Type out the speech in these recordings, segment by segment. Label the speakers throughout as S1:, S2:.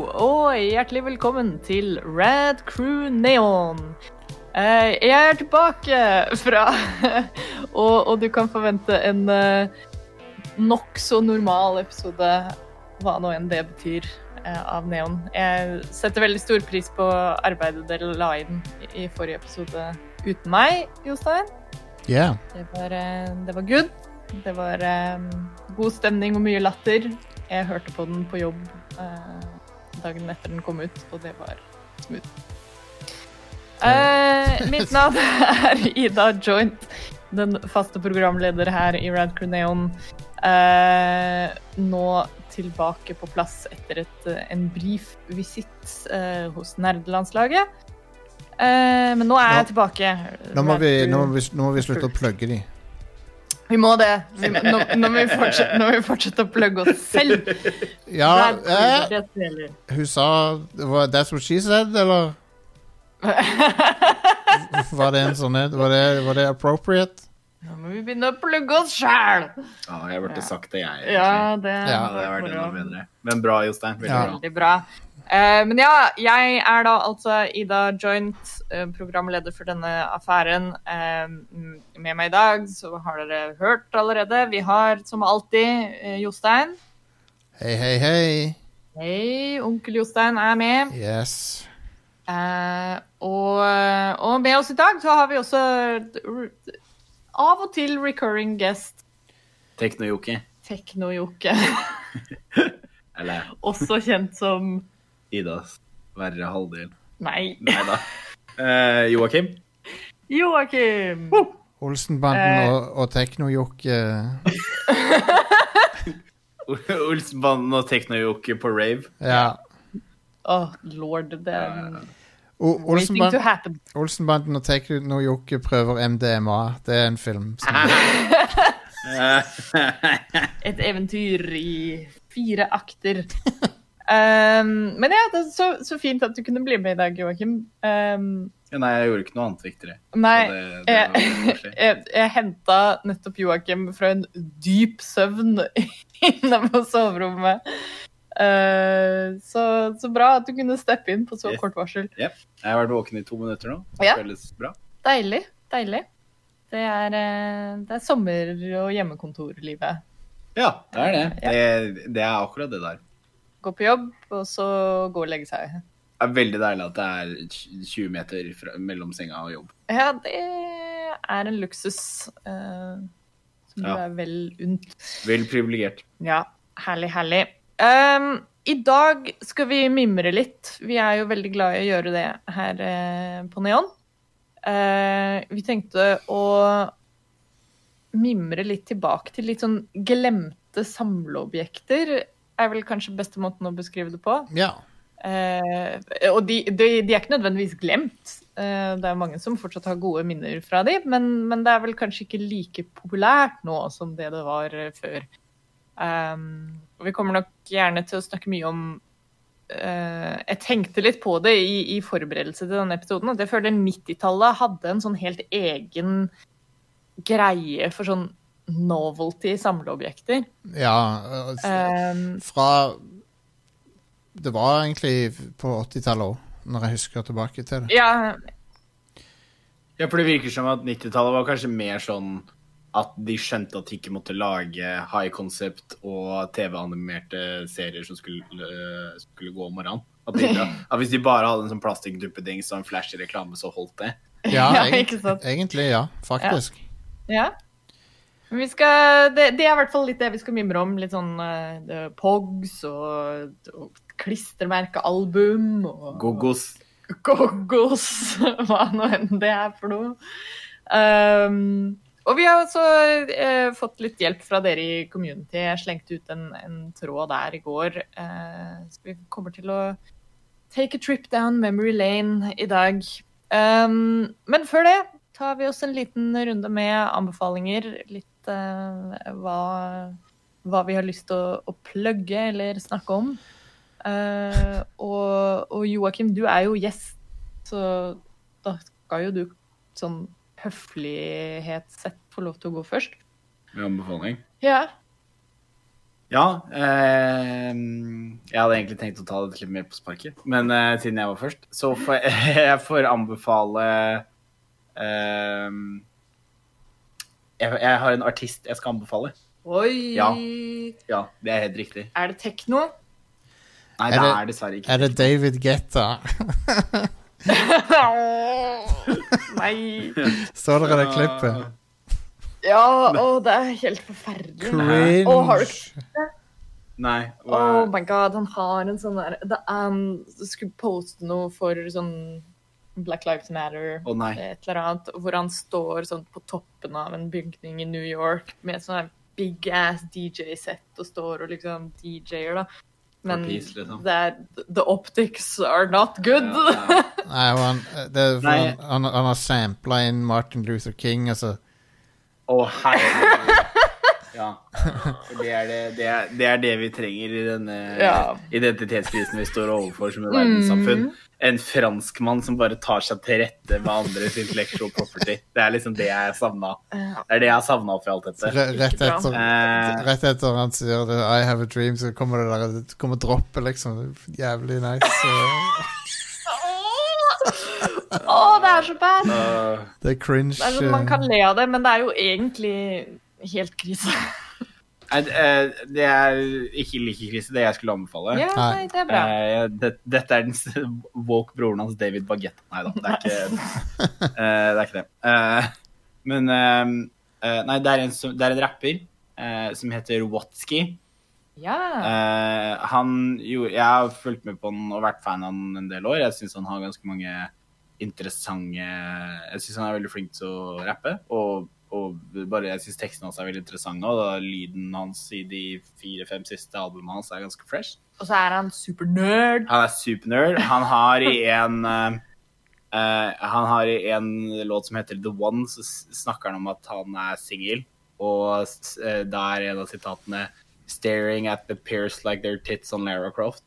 S1: og hjertelig velkommen til Rad Crew Neon. Eh, Jeg er tilbake fra og, og du kan forvente en eh, nokså normal episode, hva nå enn det betyr, eh, av Neon. Jeg setter veldig stor pris på arbeidet dere la inn i- i forrige episode uten meg, Jostein.
S2: Ja.
S1: Det var, eh, det var good. Det var eh, god stemning og mye latter. Jeg hørte på den på jobb eh, dagen etter den kom ut, og det var smooth. Eh, mitt navn er Ida Joint, den faste programleder her i Rad Crew Neon. Eh, nå tilbake på plass etter et, eh, en brief visitt eh, hos nerdelandslaget. Eh, men nå er jeg tilbake.
S2: Nå, må
S1: Rad
S2: vi,
S1: Crew-
S2: nå, må vi, nå må vi slutte å plugge de.
S1: vi må det. Vi, nå, nå, må vi fortsette, nå må vi fortsette å plugge oss selv.
S2: Ja,
S1: Det
S2: eh,
S1: er det som gjelder.
S2: hun sa det var, That's what she said, eller? Var det en sånn en? Var det, var det appropriate?
S1: Nå må vi begynne å plugge oss sjæl!
S3: Ja, jeg burde sagt det, jeg. egentlig.
S1: Ja, det
S2: Ja,
S3: Ja, det hadde vært enda
S1: moro.
S3: bedre. Men bra, Jostein. Veldig
S2: Ja.
S3: bra.
S1: Veldig bra. Eh, men ja, jeg er da altså Ida Joint, eh, programleder for denne affæren. Eh, m- med meg i dag så har dere hørt allerede. Vi har som alltid eh, Jostein.
S2: Hei, hei, hei.
S1: Hei, onkel Jostein er med.
S2: Yes.
S1: Eh, og, og med oss i dag så har vi også r- av og til recurring guest
S3: Teknojoki.
S1: Teknojoke,
S3: Eller
S1: også kjent som
S3: Idas verre halvdel.
S1: Nei,
S3: Nei da. Eh, Joakim.
S1: Joakim!
S2: Olsenbanden
S1: Eh.
S2: og, og Teknojokk. eh,
S3: Ol- Olsenbanden og Teknojoki på rave.
S2: Ja.
S1: Å, lord, det er en
S2: O-
S1: waiting to
S2: Olsenband,
S1: happen.
S2: Olsenbanden og Teknojokk prøver MDMA. Det er en film.
S1: Ah.
S2: Som,
S3: Eh,
S1: Et eventyr i fire akter. Um, men ja, det er så, så fint at du kunne bli med i dag, Joakim. Um,
S3: Nei, jeg gjorde ikke noe annet viktigere.
S1: nei, eh,
S3: Så det- det var
S1: jeg,
S3: veldig koselig.
S1: jeg, jeg henta nettopp Joakim fra en dyp søvn inne på soverommet. Eh, så, så bra at du kunne steppe inn på så
S3: Yes.
S1: kort varsel.
S3: Jeg har vært våken i to minutter nå. Det
S1: Ja.
S3: føles bra.
S1: Deilig. Deilig. Det er, eh, det er sommer- og hjemmekontorlivet.
S3: Ja, det er det. Det, det er akkurat det der.
S1: Gå på jobb, og så gå og legge seg.
S3: Det er veldig deilig at det er 20 meter fra, mellom senga og jobb.
S1: Ja, det er en luksus eh, som du
S3: Ja.
S1: er vel unt.
S3: Vel privilegert.
S1: Ja, herlig, herlig. Ehm, I dag skal vi mimre litt. Vi er jo veldig glad i å gjøre det her eh, på Neon. Eh, vi tenkte å mimre litt tilbake til litt sånn glemte samleobjekter. Er vel kanskje beste måten å beskrive det på.
S2: ja.
S1: Eh, og de, de, de er ikke nødvendigvis glemt. Eh, det er mange som fortsatt har gode minner fra de, men, men det er vel kanskje ikke like populært nå som det det var eh, før. Ehm, og vi kommer nok gjerne til å snakke mye om eh, Jeg tenkte litt på det i, i forberedelse til denne episoden, at jeg føler 90-tallet hadde en sånn helt egen greie for sånn novelty samleobjekter.
S2: ja. og-
S1: Ehm,
S2: Fra Det var egentlig på 80-tallet òg, når jeg husker tilbake til det.
S1: ja,
S3: Ja, for det virker som at 90-tallet var kanskje mer sånn at de skjønte at de ikke måtte lage high concept og TV-animerte serier som skulle, øh, skulle gå om morgenen. At, de, at hvis de bare hadde en sånn plastikkduppedings og en flashy reklame, så holdt det.
S2: Ja,
S1: Ja,
S2: egen-
S1: ikke sant?
S2: egentlig. Ja, faktisk.
S1: Ja. Men vi skal, det, det er i hvert fall litt det vi skal mimre om. Litt sånn eh, det- pogs og, og klistremerkealbum og
S3: Gogos.
S1: Gogos, hva nå enn det er for noe. Ehm, og vi har også eh, fått litt hjelp fra dere i community. Jeg slengte ut en, en tråd der i går. eh, så vi kommer til å take a trip down memory lane i dag. Ehm, men før det tar vi oss en liten runde med anbefalinger. Litt eh, hva, hva vi har lyst til å, å plugge eller snakke om. Eh, og, og Joakim, du er jo gjest, så da skal jo du sånn høflighetssett få lov til å gå først.
S3: Med anbefaling.
S1: Ja.
S3: Ja. Eh, jeg hadde egentlig tenkt å ta det litt mer på sparket, men eh, siden jeg var først, så får jeg, jeg får anbefale eh, jeg, jeg har en artist jeg skal anbefale.
S1: Oi!
S3: Ja. Ja, det er helt riktig.
S1: Er det tekno?
S3: Nei,
S2: Er
S3: det,
S2: det-
S3: er dessverre ikke.
S2: Er det David Getta?
S1: Nei.
S2: Står dere det klippet?
S3: Ah,
S1: Ja, å, det er helt forferdelig.
S2: Cringe.
S1: Å, har du ikke-
S3: Nei.
S1: Oh
S3: hva-
S1: my god, han har en sånn der det, er en- Du skulle poste noe for sånn Black Lives Matter.
S3: Å nei.
S1: et eller annet, hvor han står sånn på toppen av en bygning i New York med sånn her big ass DJ-sett og står og liksom DJ-er, da. Men
S3: For peace, liksom.
S1: det er, the optics are not good.
S3: Ja, ja.
S2: Nei, og han, eh, det, er for
S3: Nei.
S2: han, han, han har sampla inn Martin Luther King, altså.
S3: Å, herregud. Ja. For Det er det, det, er, det er det vi trenger i denne
S1: Ja. Mm.
S3: identitetskrisen vi står overfor som et verdenssamfunn. En franskmann som bare tar seg til rette med andres intellectual property. Det er liksom det jeg savna. Det er det jeg har savna oppi alt dette.
S2: Re- Rett
S1: Ikke
S2: etter,
S3: bra. Eh.
S2: rett etter han sier det, 'I have a dream', så kommer det der det kommer droppet, liksom. Jævlig nice. så-
S1: Åh, det er så bad!
S3: Uh,
S2: Det er cringe. eh,
S1: Det er sånn, man kan le av det, men det er jo egentlig helt krise.
S3: nei, eh, det er ikke like krise, det jeg skulle anbefale.
S1: Ja,
S2: Nei.
S1: nei, det er bra.
S3: Eh, det, dette er den s- woke-broren hans, David Baguette. Nei da, det er ikke, eh, det. Er ikke det. Eh, men eh, eh, Nei, det er en, som- det er en rapper eh, som heter Watsky.
S1: Ja.
S3: Eh, han jo, Jeg har fulgt med på han og vært fan av han en del år. Jeg syns han har ganske mange interessante Jeg syns han er veldig flink til å rappe. Og, og bare, jeg syns tekstene hans er veldig interessante, og da, lyden hans i de fire-fem siste albumene hans er ganske fresh.
S1: Og så er han supernerd.
S3: Han er supernerd. Han har i en eh, eh, Han har i en låt som heter The One, så s- snakker han om at han er singel. Og s- eh, da er en av sitatene 'Staring at the peers like their tits on Lara Croft'.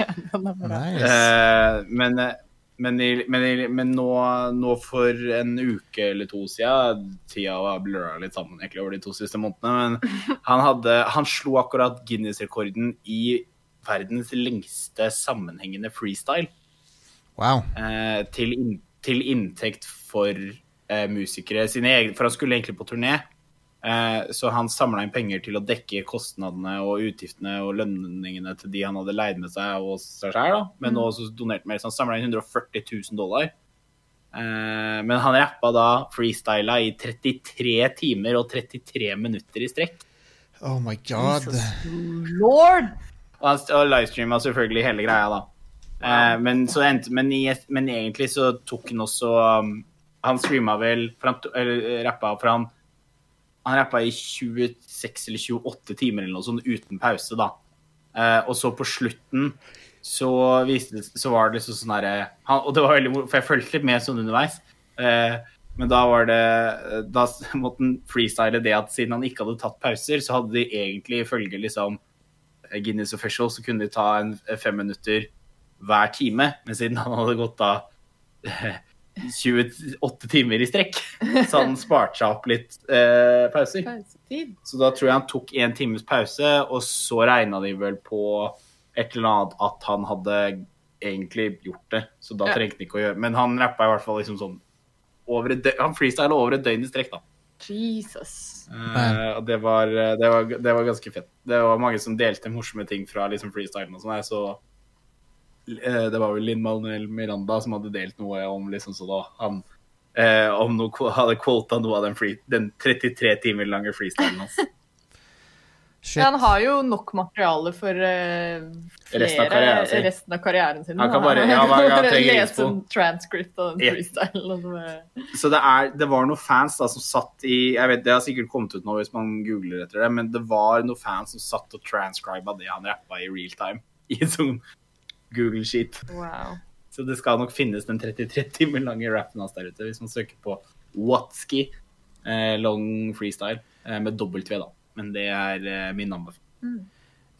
S2: Nice.
S3: Eh, men, eh, men, i, men, i, men nå, nå for en uke eller to siden Tida var blurra litt sammen egentlig over de to siste månedene. Men han, hadde, han slo akkurat Guinness-rekorden i verdens lengste sammenhengende freestyle.
S2: Wow.
S3: eh, til, inn, til inntekt for eh, musikere sine egne For han skulle egentlig på turné. Eh, så han samla inn penger til å dekke kostnadene og utgiftene og lønningene til de han hadde leid med seg og seg sjøl, da. Men også donerte mer. Så han samla inn 140 000 dollar. Eh, men han rappa da freestyla i 33 timer og 33 minutter i strekk.
S2: Oh my god.
S1: Lord!
S3: Og, han, og livestreama selvfølgelig hele greia, da. Eh, men, så endte, men, i, men egentlig så tok han også um, Han streama vel for han, to- Eller eh, rappa for han Han rappa i 26 eller 28 timer eller noe sånt uten pause, da. Eh, og så på slutten så, viste det, så var det liksom sånn herre han- Og det var veldig moro, for jeg fulgte litt med sånn underveis. Eh, men da var det Da s- måtte han freestyle det at siden han ikke hadde tatt pauser, så hadde de egentlig ifølge liksom Guinness Official, så kunne de ta en eh, fem minutter hver time. Men siden han hadde gått da eh, 28 timer i strekk, så hadde han spart seg opp litt eh, pauser.
S1: Pausetid.
S3: Så da tror jeg han tok en times pause, og så regna de vel på et eller annet at han hadde egentlig gjort det. Så da
S1: Ja.
S3: trengte han ikke å gjøre Men han rappa i hvert fall liksom sånn over et dø- Han freestyla over et døgn i strekk, da.
S1: Jesus.
S3: Eh, og det var, det, var, det var ganske fett. Det var mange som delte morsomme ting fra liksom freestylen og sånn. her, Så eh, det var vel Linn Manuel Miranda som hadde delt noe om liksom så da han eh, om noe, hadde quota noe av den, free, den 33 timer lange freestylen hans.
S2: Shit.
S1: Ja, han har jo nok materiale for eh, flere,
S3: Resten av karrieren sin.
S1: resten av karrieren sin.
S3: Han kan bare- ja, hver gang han trenger
S1: Lese
S3: info.
S1: en transcript av den
S3: Ja.
S1: freestylen. og så bare-
S3: Så det, er, det var noen fans da som satt i jeg vet, Det har sikkert kommet ut nå hvis man googler etter det, men det var noen fans som satt og transcriba det han rappa i real time. I en sånn Google sheet.
S1: Wow.
S3: Så det skal nok finnes den 33 timer lange rappen hans der ute, hvis man søker på Watski eh, long freestyle eh, med dobbelt V, da. Men det er eh, min anbefaling.
S1: Ja, han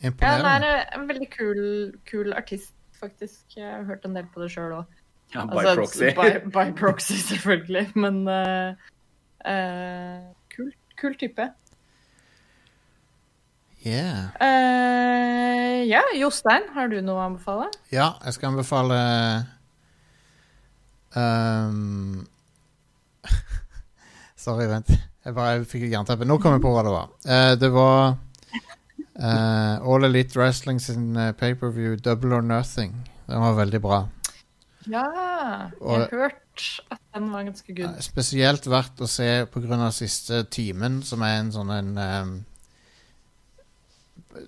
S1: er
S2: Imponerende.
S1: eh, en veldig kul, kul artist, faktisk. Jeg har hørt en del på det sjøl òg.
S3: Ja, by
S1: Altså,
S3: proxy.
S1: By, by proxy, selvfølgelig. Men eh, eh, kul, kul type.
S2: Yeah.
S1: Eh, ja, Jostein, har du noe å anbefale?
S2: Ja, jeg skal anbefale ehm, Sorry, vent. Jeg bare fikk et jernteppe. Nå kom jeg på hva det var. Eh, det var eh, All Elite Wrestling sin eh, pay-per-view Double or Nothing. Den var veldig bra.
S1: Ja, jeg
S2: Og-
S1: har hørt at den var ganske
S2: Ja,
S1: good.
S2: Spesielt verdt å se pga. siste timen, som er en sånn en ehm,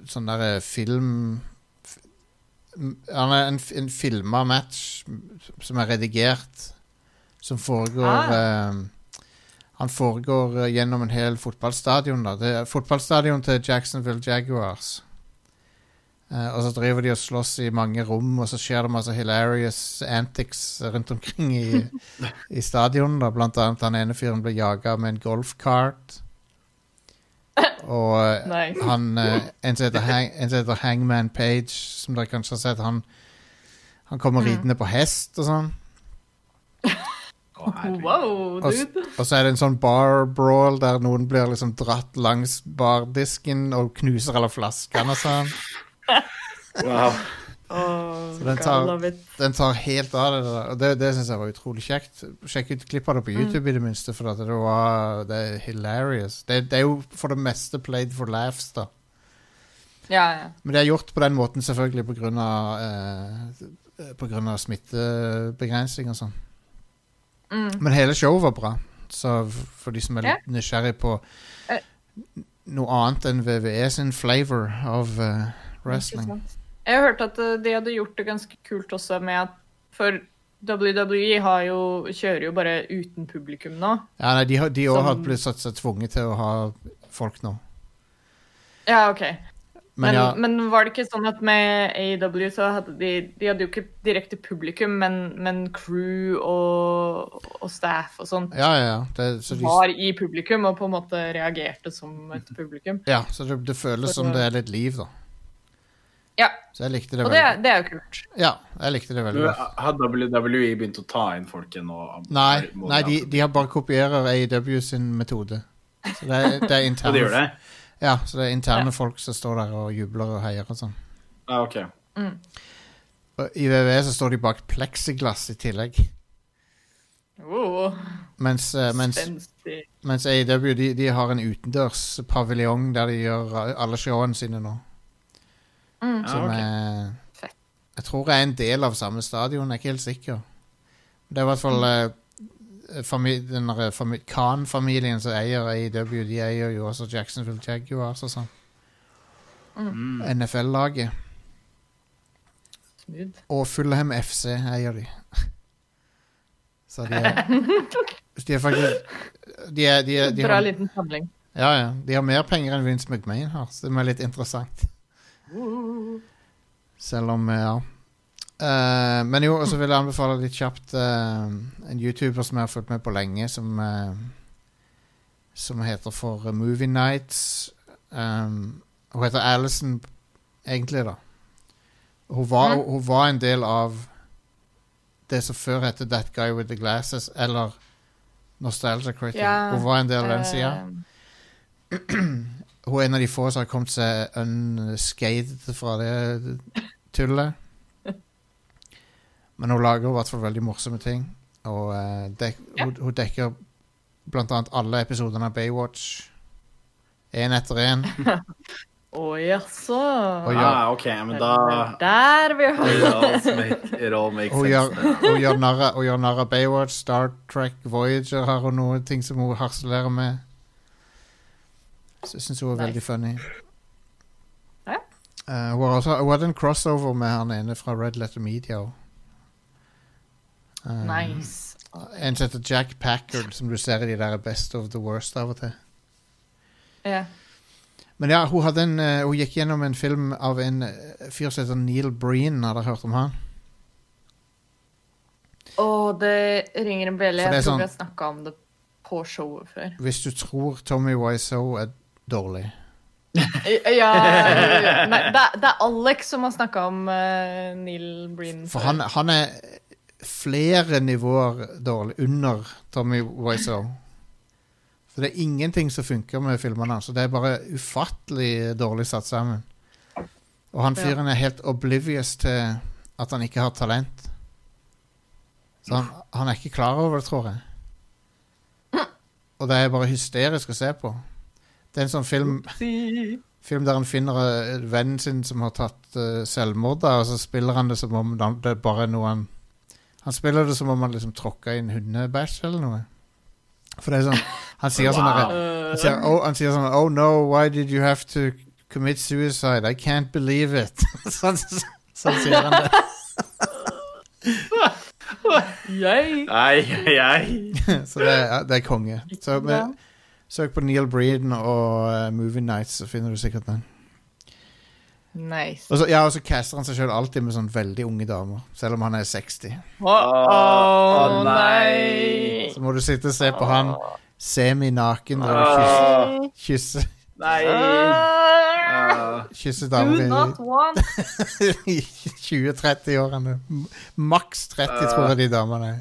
S2: Sånn derre film f- m- Han er en, f- en filma match m- som er redigert, som foregår ehm, Han foregår eh, gjennom en hel fotballstadion, da. Det er fotballstadion til Jacksonville Jaguars. Eh, og så driver de og slåss i mange rom, og så skjer det masse hilarious antics rundt omkring i, i stadion. Da. Blant annet han ene fyren ble jaga med en golfcart. Og eh,
S1: Nei.
S2: han, eh, en som heter, hang, en som heter Hangman Page, som dere kanskje har sett, han, han kommer ridende på hest og sånn.
S3: Å, herregud.
S1: Wow,
S2: Og, s-
S1: dude.
S2: og så er det en sånn bar brawl der noen blir liksom dratt langs bardisken og knuser alle flaskene og sånn.
S3: Wow.
S1: Oh,
S2: den
S1: God,
S2: tar-
S1: love it.
S2: Den tar helt av det der. Og det, det syns jeg var utrolig kjekt. Sjekk ut klipp av det på
S1: Mm.
S2: YouTube, i det minste, for at det, var, det er hilarious. Det, det er jo for det meste played for laughs, da.
S1: Ja, ja.
S2: Men det er gjort på den måten, selvfølgelig, på grunn av, eh, på grunn av smittebegrensning og sånn.
S1: Mm.
S2: Men hele showet var bra. Så f- for de som er
S1: Ja.
S2: litt nysgjerrig på
S1: Eh.
S2: noe annet enn VVE sin flavor av eh,
S1: Ikke
S2: wrestling.
S1: sant. Jeg hørte at eh, de hadde gjort det ganske kult også med at For WWE har jo, kjører jo bare uten publikum nå.
S2: Ja, nei, de har- de òg har
S1: Som-
S2: blitt satt seg tvunget til å ha folk nå.
S1: Ja, OK. Men, men,
S2: ja,
S1: var det ikke sånn at med AEW så hadde de De hadde jo ikke direkte publikum, men, men crew og, og staff og sånn
S2: Ja, ja, ja. Det, så de,
S1: var i publikum og på en måte reagerte som et publikum.
S2: ja, så det, det føles som det er litt liv, da.
S1: Ja,
S2: Så jeg likte det
S1: og det,
S2: veldig
S1: er- det er jo kult.
S2: Ja, jeg likte det veldig
S3: Men eh,
S2: godt.
S3: Har WWE begynt å ta inn folk igjen? og-
S2: Nei,
S3: må
S2: nei de, de har bare kopierer AEW sin metode. Så det er, det er
S3: Ja, de
S2: interne,
S3: gjør det?
S2: Ja, så det er interne folk som står der og jubler og heier og sånn.
S3: Ja, Ah, OK.
S2: Og I VVE så står de bak plexiglass i tillegg.
S1: Oh,
S2: Mens, eh, mens,
S1: spenstig.
S2: mens AEW de, de har en utendørs paviljong der de gjør alle showene sine nå.
S3: Ja,
S2: Som
S3: Ah, ok.
S2: er
S1: Fett.
S2: Jeg tror er en del av samme stadion, jeg er ikke helt sikker. Det er i hvert fall
S3: Mm.
S2: eh, fami den der fami Khan-familien som eier AEW, de eier jo også Jacksonville Jaguars og sånn.
S1: Mm.
S3: Mm.
S2: NFL-laget.
S1: Smooth.
S2: Og Fulham FC eier de. Så de er, de er faktisk De er, de er de
S1: Bra
S2: har,
S1: liten samling.
S2: ja, ja, de har mer penger enn Vince McMahon har, som er litt interessant.
S1: Oh.
S2: Selv om, ja. Eh, men jo, og så vil jeg anbefale litt kjapt eh, en YouTuber som jeg har fulgt med på lenge, som, eh, som heter for Movie Nights. Um, hun heter Alison, egentlig, da. Hun var,
S1: Mhm.
S2: hun var en del av det som før het That Guy With The Glasses, eller Nostalgia Critic.
S1: Ja,
S2: hun var en del av den sida.
S1: Eh,
S2: Hun er en av de få som har kommet seg unscathed fra det tullet. Men hun lager i hvert fall veldig morsomme ting. Og eh, dek
S1: Ja.
S2: hun, hun dekker blant annet alle episodene av Baywatch. Én etter én.
S1: Å jaså.
S2: Oi,
S1: Det
S2: ja.
S3: Ah, OK, men
S1: er
S3: da
S1: Der vi har
S3: It
S2: altså,
S3: all make- it all makes
S2: Hun
S3: sense.
S2: gjør, hun gjør narr av- hun gjør narr av Baywatch, Star Trek, Voyager har hun noen ting som hun harselerer med. Så jeg syns hun er
S1: Nice.
S2: veldig funny.
S1: Ja.
S2: Eh, hun, har også, hun hadde en crossover med han ene fra Red Letter Media. også. Eh,
S1: Nice.
S2: En som heter Jack Packard, som du ser i de der Best of the Worst av og til.
S1: Ja.
S2: Men ja, hun, hadde en, eh, hun gikk gjennom en film av en eh, fyr som heter Neil Breen. Har dere hørt om han?
S1: Å, det ringer en bjelle.
S2: For det er
S1: Jeg tror
S2: sånn-
S1: vi har snakka om det på showet før.
S2: Hvis du tror Tommy Wiseau er dårlig
S1: Eh, Ja Nei, det, er- det er Alex som har snakka om eh, Neil Breen.
S2: For han, han er flere nivåer dårlig under Tommy Wiseau. Så det er ingenting som funker med filmene hans. og Det er bare ufattelig dårlig satt sammen. Og han fyren er helt oblivious til at han ikke har talent. Så han, han er ikke klar over det, tror jeg. Og det er bare hysterisk å se på. Det er en sånn film
S1: Si.
S2: film der han finner eh, vennen sin som har tatt eh, selvmord, da, og så spiller han det som om han- det er bare noe han Han spiller det som om han liksom tråkka i en hundebæsj eller noe. For det er sånn Han sier sånn derre-
S1: eh,
S2: han, sier, oh, han sier sånn Oh no, why did you have to commit suicide? I can't believe it. sånn, sånn sier han det.
S1: Jeg
S3: Nei, jeg
S2: Så det, er- det er konge. Så med, søk på Neil Breeden og eh, Movie Nights, så finner du sikkert den.
S1: Nice.
S2: Og så, ja, og så caster han seg sjøl alltid med sånn veldig unge damer, selv om han er 60.
S1: Å å,
S3: nei.
S1: nei.
S2: Så må du sitte og se på han semi-naken og kysse,
S3: Åh,
S2: kysse,
S3: Nei.
S1: Ah,
S3: Åh.
S2: kysse
S1: Do
S2: damer
S1: not want
S2: i, i 20-30-årene. M- Maks 30, tror jeg de damene er.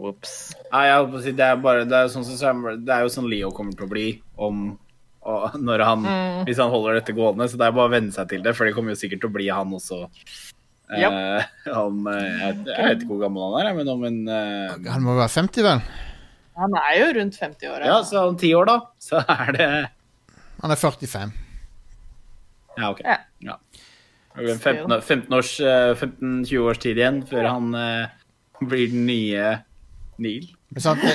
S1: Ops.
S3: Nei, jeg holdt på å si, det er bare Det er jo sånn, som Sam- det er jo sånn Leo kommer til å bli om og når han,
S1: Mm.
S3: Hvis han holder dette gående. Så det er bare å venne seg til det, for det kommer jo sikkert til å bli han også. Eh, om, eh, jeg, jeg vet ikke hvor gammel han er, jeg, men om en eh,
S2: Han må være 50, vel?
S1: Han er jo rundt 50-åra.
S3: Ja, så om ti år, da, så er det
S2: Han er 45.
S3: Ja, OK.
S1: Ja.
S3: Ja. Det blir en 15 år- 15 års, eh, 15-20 års tid igjen før han eh, blir den nye Neil.
S2: Men sant, det,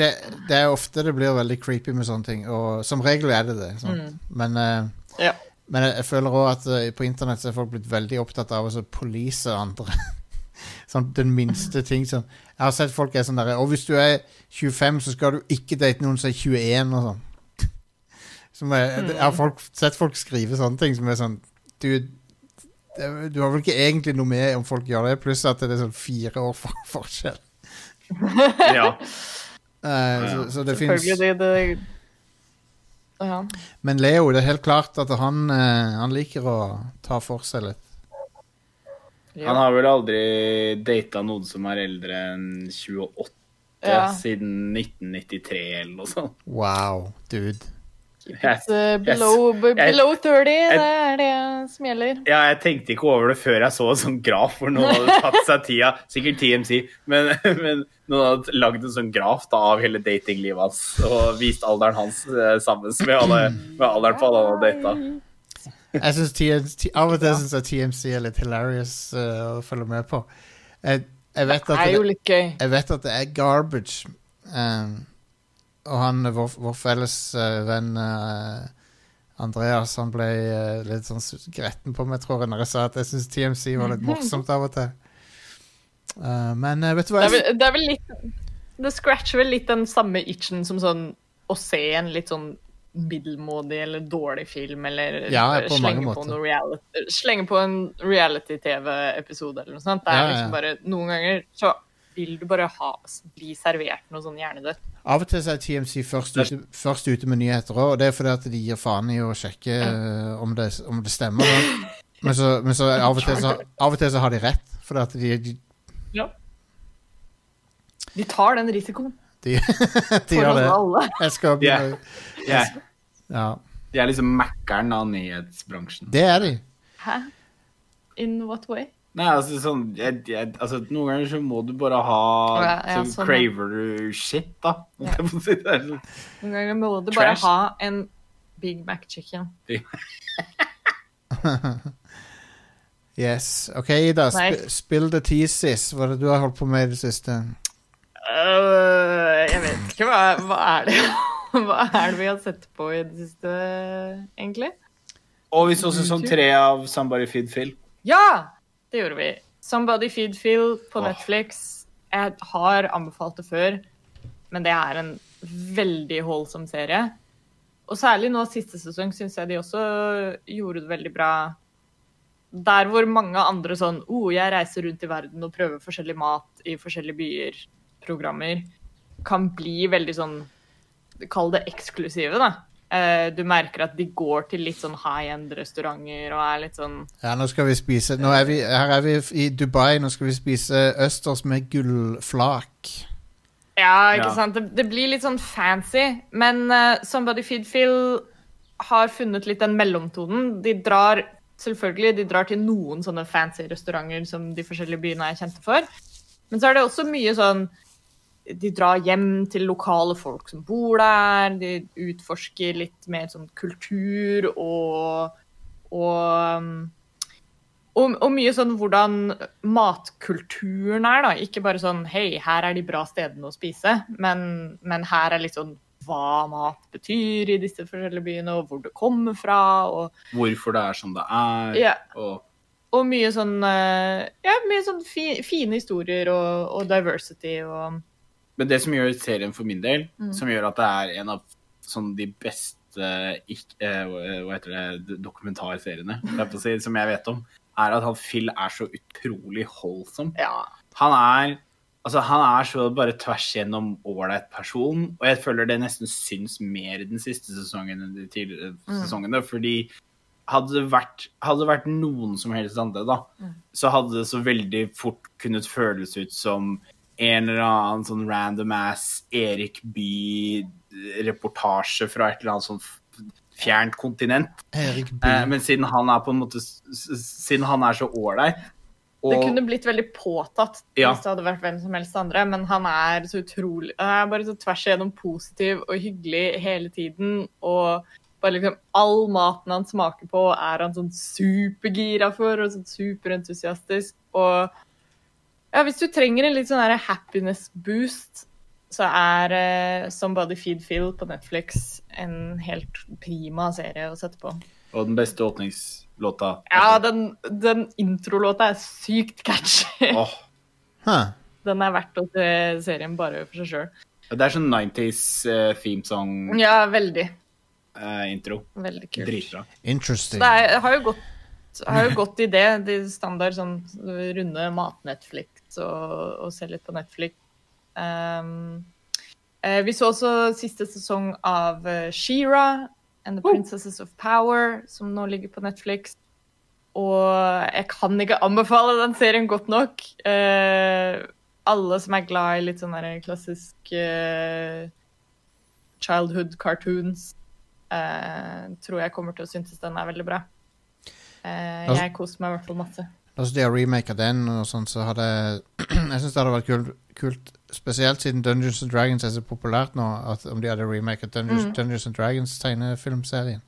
S2: det, det er ofte det blir veldig creepy med sånne ting, og som regel er det det. Sant? Men, eh,
S1: Ja.
S2: men jeg, jeg føler òg at eh, på internett så er folk blitt veldig opptatt av å så police andre. sånn den minste ting som Jeg har sett folk er sånn derre Og hvis du er 25, så skal du ikke date noen som er 21, og sånn. Som er, jeg har folk, sett folk skrive sånne ting som er sånn Du, det, du har vel ikke egentlig noe med om folk gjør det, pluss at det er sånn fire år for, forskjell.
S3: Ja.
S2: Eh, så, så det fins
S1: Selvfølgelig, det, det ja.
S2: Men Leo, det er helt klart at han, eh, han liker å ta for seg litt.
S3: Han har vel aldri data noen som er eldre enn 28
S1: Ja.
S3: siden 1993 eller noe sånt.
S2: Wow, dude.
S3: Jeg,
S1: Så Below, be-
S3: Jeg-
S1: below 30, det
S3: jeg-
S1: er det som gjelder.
S3: ja, jeg tenkte ikke over det før jeg så en sånn graf hvor noen hadde tatt seg tida, sikkert TMC, men, men noen hadde lagd en sånn graf da, av hele datinglivet hans og vist alderen hans eh, sammen med, alle, med alderen på alle han hadde data.
S2: Jeg synes TNT, Av og til syns jeg TMC er litt hilarious eh, å følge med på. Jeg, jeg, vet
S1: Det
S2: at
S1: er jo
S2: det,
S1: litt gøy.
S2: jeg vet at det er garbage. eh, og han, eh, vår, vår felles eh, venn eh, Andreas, han ble eh, litt sånn s- gretten på meg, tror jeg, når jeg sa at jeg syns TMC var litt morsomt av og til. Eh, men eh, vet du hva
S1: Det
S2: jeg
S1: er, vel, det er vel litt Det scratcher vel litt den samme itchen som sånn å se en litt sånn middelmådig eller dårlig film, eller
S2: Ja, på mange
S1: slenge, på
S2: måter.
S1: noe reality, slenge på en reality-TV-episode eller noe sånt. Det er
S2: Ja, ja, ja.
S1: liksom bare Noen ganger så vil du bare ha, bli servert noe sånn hjernedødt.
S2: Av og til så er TMC først ute, først ute med nyheter òg, og det er fordi at de gir faen i å sjekke eh, om, det, om det stemmer. Da. Men, så, men så, av, og til så, av og til så har de rett, fordi at de, de,
S1: Ja. De tar den risikoen
S2: de, de
S1: for
S2: gjør
S1: oss
S2: det.
S1: alle.
S2: Jeg skal begynne
S3: Jeg,
S2: ja,
S3: jeg er liksom Mækkern av nyhetsbransjen.
S2: Det er de.
S1: Hæ? In what way?
S3: Nei, altså sånn jeg, jeg, altså, Noen ganger så må du bare ha
S1: Ja, ja,
S3: Så
S1: sånn, ja.
S3: craver du shit, da. holdt jeg på å si. Det er sånn-
S1: Noen ganger må du bare
S3: Trash.
S1: ha en Big Mac chicken.
S2: Yes. OK, Ida. Sp
S1: Nei.
S2: spill the thesis. Hva er det du har holdt på med i det siste?
S1: Øh, jeg vet ikke. Hva, hva, er det, hva er det vi har sett på i det siste, egentlig?
S3: Og vi så sesong tre av Somebody Feed Phil.
S1: Ja! Det gjorde vi. Somebody Feed Phil på
S3: Åh.
S1: Netflix. Jeg har anbefalt det før, men det er en veldig holdsom serie. Og særlig nå siste sesong syns jeg de også gjorde det veldig bra. Der hvor mange andre sånn oh, jeg reiser rundt i verden og prøver forskjellig mat i forskjellige byer, programmer, kan bli veldig sånn Kall det eksklusive, da. Eh, Du merker at de går til litt sånn high end-restauranter og er litt sånn
S2: Ja, nå skal vi spise nå er vi, Her er vi i Dubai. Nå skal vi spise østers med gullflak.
S1: Ja, ikke
S3: Ja.
S1: sant? Det, det blir litt sånn fancy, men eh, Somebody Feed Phil har funnet litt den mellomtonen. De drar selvfølgelig de drar til noen sånne fancy restauranter som de forskjellige byene er kjente for. Men så er det også mye sånn De drar hjem til lokale folk som bor der. De utforsker litt mer sånn kultur og og um, og, og mye sånn hvordan matkulturen er, da. Ikke bare sånn hei, her er de bra stedene å spise, men, men her er litt sånn hva mat betyr i disse forskjellige byene, og hvor det kommer fra. Og,
S3: Hvorfor det er som det er.
S1: Ja.
S3: Og
S1: og mye sånn eh, Ja, mye sånn fi, fine historier og, og diversity og
S3: Men det som gjør serien for min del,
S1: Mm.
S3: som gjør at det er en av sånn, de beste ikk- eh, hva heter det, d- dokumentarseriene holdt jeg på å si, som jeg vet om, er at han Phil er så utrolig holdsom.
S1: Ja.
S3: Han er Altså, han er så bare tvers gjennom ålreit person, og jeg føler det nesten syns mer i den siste sesongen enn de tidligere
S1: Mm.
S3: sesongene, fordi hadde det vært, hadde det vært noen som helst andre, da,
S1: Mm.
S3: så hadde det så veldig fort kunnet føles ut som en eller annen sånn random ass Erik Bye-reportasje fra et eller annet sånn f- fjernt kontinent.
S2: Erik
S1: Mm.
S3: Eh,
S2: Bye.
S3: men siden han er på en måte s- s- Siden han er så ålreit
S1: Det
S3: og-
S1: kunne blitt veldig påtatt
S3: Ja.
S1: hvis det hadde vært hvem som helst andre, men han er så utrolig Han er bare så tvers igjennom positiv og hyggelig hele tiden. Og bare liksom all maten han smaker på, er han sånn supergira for, og sånn superentusiastisk. Og ja, hvis du trenger en litt sånn her happiness boost, så er eh, Somebody Feed Phil på Netflix en helt prima serie å sette på.
S3: Og den beste åpningslåta.
S1: Ja, den, den introlåta er sykt catchy.
S3: Åh,
S2: Huh.
S1: Den er verdt å se serien bare for seg sjøl.
S3: det er sånn 90s eh, theme song-intro.
S1: Ja, veldig. Veldig kult.
S3: Dritbra.
S2: Interesting.
S1: Det er, har jo gått har jo gått i det, de standard sånn runde mat-Netflix og, og se litt på Netflix. Ehm, eh, vi så også siste sesong av eh, She-Ra and The Princesses of Power, som nå ligger på Netflix. Og jeg kan ikke anbefale den serien godt nok. Eh, alle som er glad i litt sånn der klassisk eh, childhood cartoons, eh, tror jeg kommer til å synes den er veldig bra. Eh,
S2: Altså-
S1: jeg koser meg i hvert fall masse.
S2: Altså, de har remaka den og sånn, så hadde Jeg syns det hadde vært kult, kult, spesielt siden Dungeons and Dragons er så populært nå, at om de hadde remaka Dungeons,
S1: Mm.
S2: Dungeons and Dragons tegnefilmserien.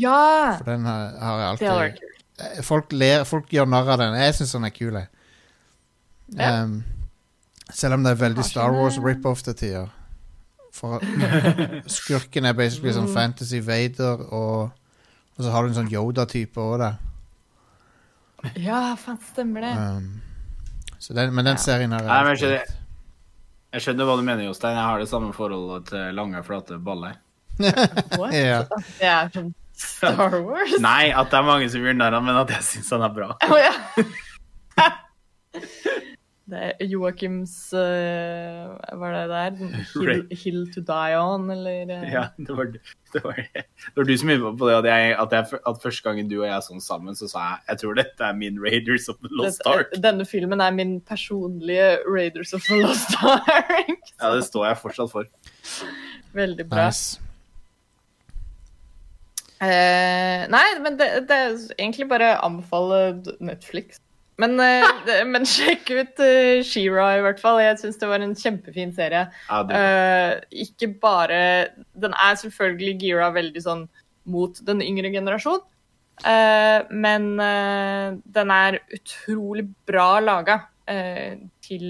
S1: Ja!
S2: For den har, har jeg
S1: Det hadde vært
S2: alltid
S1: kult.
S2: Eh, Folk ler, folk gjør narr av den. Jeg syns den er kul, jeg.
S1: Ja.
S2: Ehm, selv om det er veldig
S1: Har
S2: Star
S1: sine-
S2: Wars rip-off til tider. For skurken er basically
S1: Mm.
S2: sånn Fantasy Vader, og, og så har du en sånn Yoda-type òg der.
S1: Ja, faen, stemmer det.
S2: Um, så den, men den
S1: Ja.
S2: serien har jeg
S3: Nei, men
S2: alltid
S3: jeg Jeg skjønner hva du mener, Jostein. Jeg har det samme forholdet til lange, flate baller.
S1: What?
S2: Ja.
S1: Det er sånn Star Wars.
S3: Nei, at det er mange som gjør narr av, men at jeg syns han er bra.
S1: Å ja. Det er Joakims eh, Hva er det der? Hill,
S3: Right.
S1: Hill to die on, eller eh,
S3: Ja, det var, det var, det var du som innpå på det at, jeg, at, jeg, at første gangen du og jeg er sånn sammen, så sa jeg jeg tror dette er min Raiders of the Lost
S1: dette-
S3: Ark.
S1: Denne filmen er min personlige Raiders of the Lost Ark.
S3: Ja, det står jeg fortsatt for.
S1: Veldig bra.
S2: Nice.
S1: Eh, nei, men det, det er egentlig bare å anbefale Netflix. Men, eh, det, men sjekk ut uh, She-Ra, i hvert fall. Jeg syns det var en kjempefin serie.
S3: Ja, det,
S1: Eh, ikke bare Den er selvfølgelig gira veldig sånn mot den yngre generasjon. Eh, men eh, den er utrolig bra laga eh, til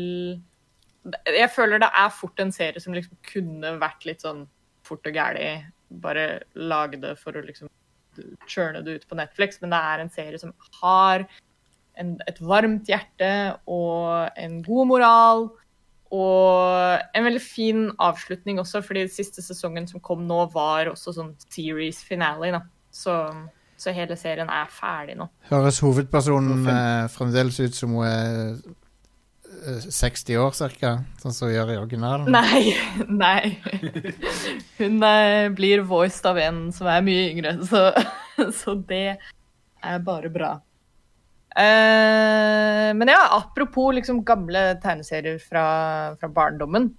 S1: Jeg føler det er fort en serie som liksom kunne vært litt sånn fort og gæli. Bare lage det for å liksom churne det ut på Netflix, men det er en serie som har en, et varmt hjerte og en god moral. Og en veldig fin avslutning også, fordi siste sesongen som kom nå, var også sånn series finale. Da. Så, så hele serien er ferdig nå.
S2: Høres hovedpersonen
S3: Hvorfor?
S2: eh, fremdeles ut som hun er eh, 60 år ca., sånn som hun gjør i originalen?
S1: Nei, nei. Hun eh, blir voiced av en som er mye yngre, så, så det er bare bra. Eh, men ja, apropos liksom gamle tegneserier fra, fra barndommen.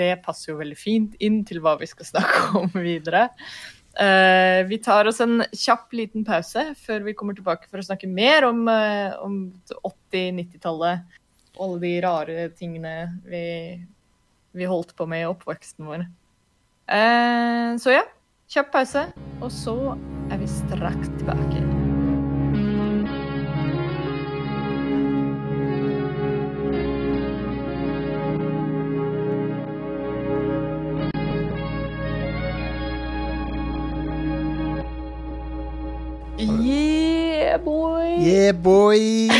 S1: det passer jo veldig fint inn til hva vi skal snakke om videre. Eh, vi tar oss en kjapp liten pause før vi kommer tilbake for å snakke mer om, eh, om 80-, 90-tallet. Alle de rare tingene vi, vi holdt på med i oppveksten vår. Eh, så ja, kjapp pause, og så er vi straks tilbake. Yeah, boy!
S2: Yeah, boy!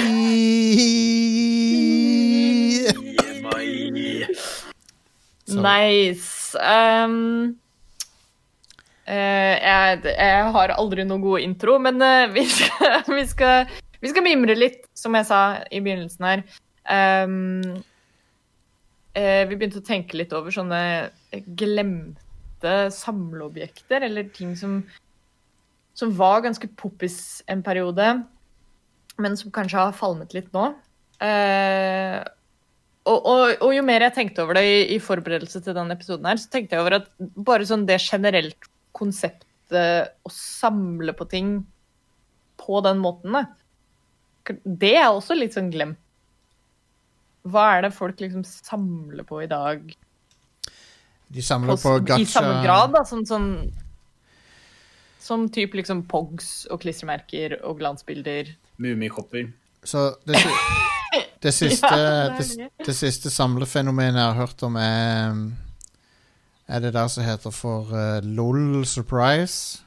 S2: Så-
S1: Nice. Ehm, eh, jeg, jeg har aldri noen god intro, men eh, vi, skal, vi, skal, vi skal mimre litt, som jeg sa i begynnelsen her. Ehm, eh, vi begynte å tenke litt over sånne glemte samleobjekter, eller ting som, som var ganske poppis en periode, men som kanskje har falmet litt nå. Eh, og, og, og jo mer jeg tenkte over det i, i forberedelse til denne episoden, her, så tenkte jeg over at bare sånn det generelt konseptet å samle på ting på den måten, da, det er også litt sånn glemt. Hva er det folk liksom samler på i dag?
S2: De samler på
S1: Og s- I samme
S2: gacha.
S1: grad, da, som sånn Som type liksom pogs og klistremerker og glansbilder.
S3: Mummikopper.
S2: Så det, si- det siste,
S1: Ja, det er
S2: det, det siste samlefenomenet jeg har hørt om, er um, Er det der som heter for eh, LOL Surprise?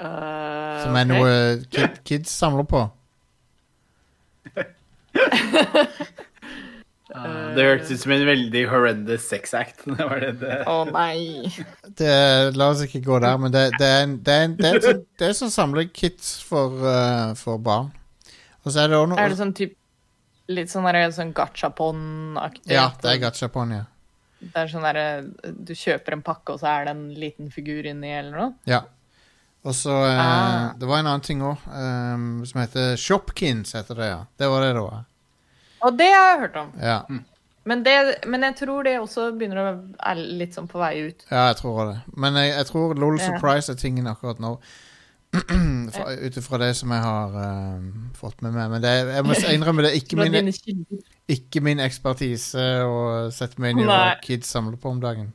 S1: Eh,
S2: Som er
S1: ok.
S2: noe kid, kids samler på.
S1: Eh.
S3: det hørtes ut som en veldig horrendous sex act. Det var det det.
S1: Å nei.
S2: Det, la oss ikke gå der, men det, det er en det er en- det er en sånn- det er sånn samlekits for, eh, for barn. Og så er det også noe
S1: Er det sånn typ litt sånn der, sånn gachapon-aktig?
S2: Ja, det er gachapon, ja.
S1: Det er sånn der, du kjøper en pakke, og så er det en liten figur inni, eller noe?
S2: Ja. Og så eh,
S1: Ah.
S2: Det var en annen ting òg, som heter Shopkins, heter det, ja. Det var det det var.
S1: Og det har jeg hørt om.
S2: Ja,
S1: Men, det, men jeg tror det også begynner å er litt sånn på vei ut.
S2: ja jeg tror det. Men jeg, jeg tror LOL
S1: Ja.
S2: Surprise er tingen akkurat nå. Fra- Ut ifra det som jeg har eh, fått med meg. Men det, er- jeg må innrømme det er ikke
S1: Fra
S2: min,
S1: dine kilder.
S2: ikke min ekspertise å sette meg inn i hva
S1: Nei.
S2: kids samler på om dagen.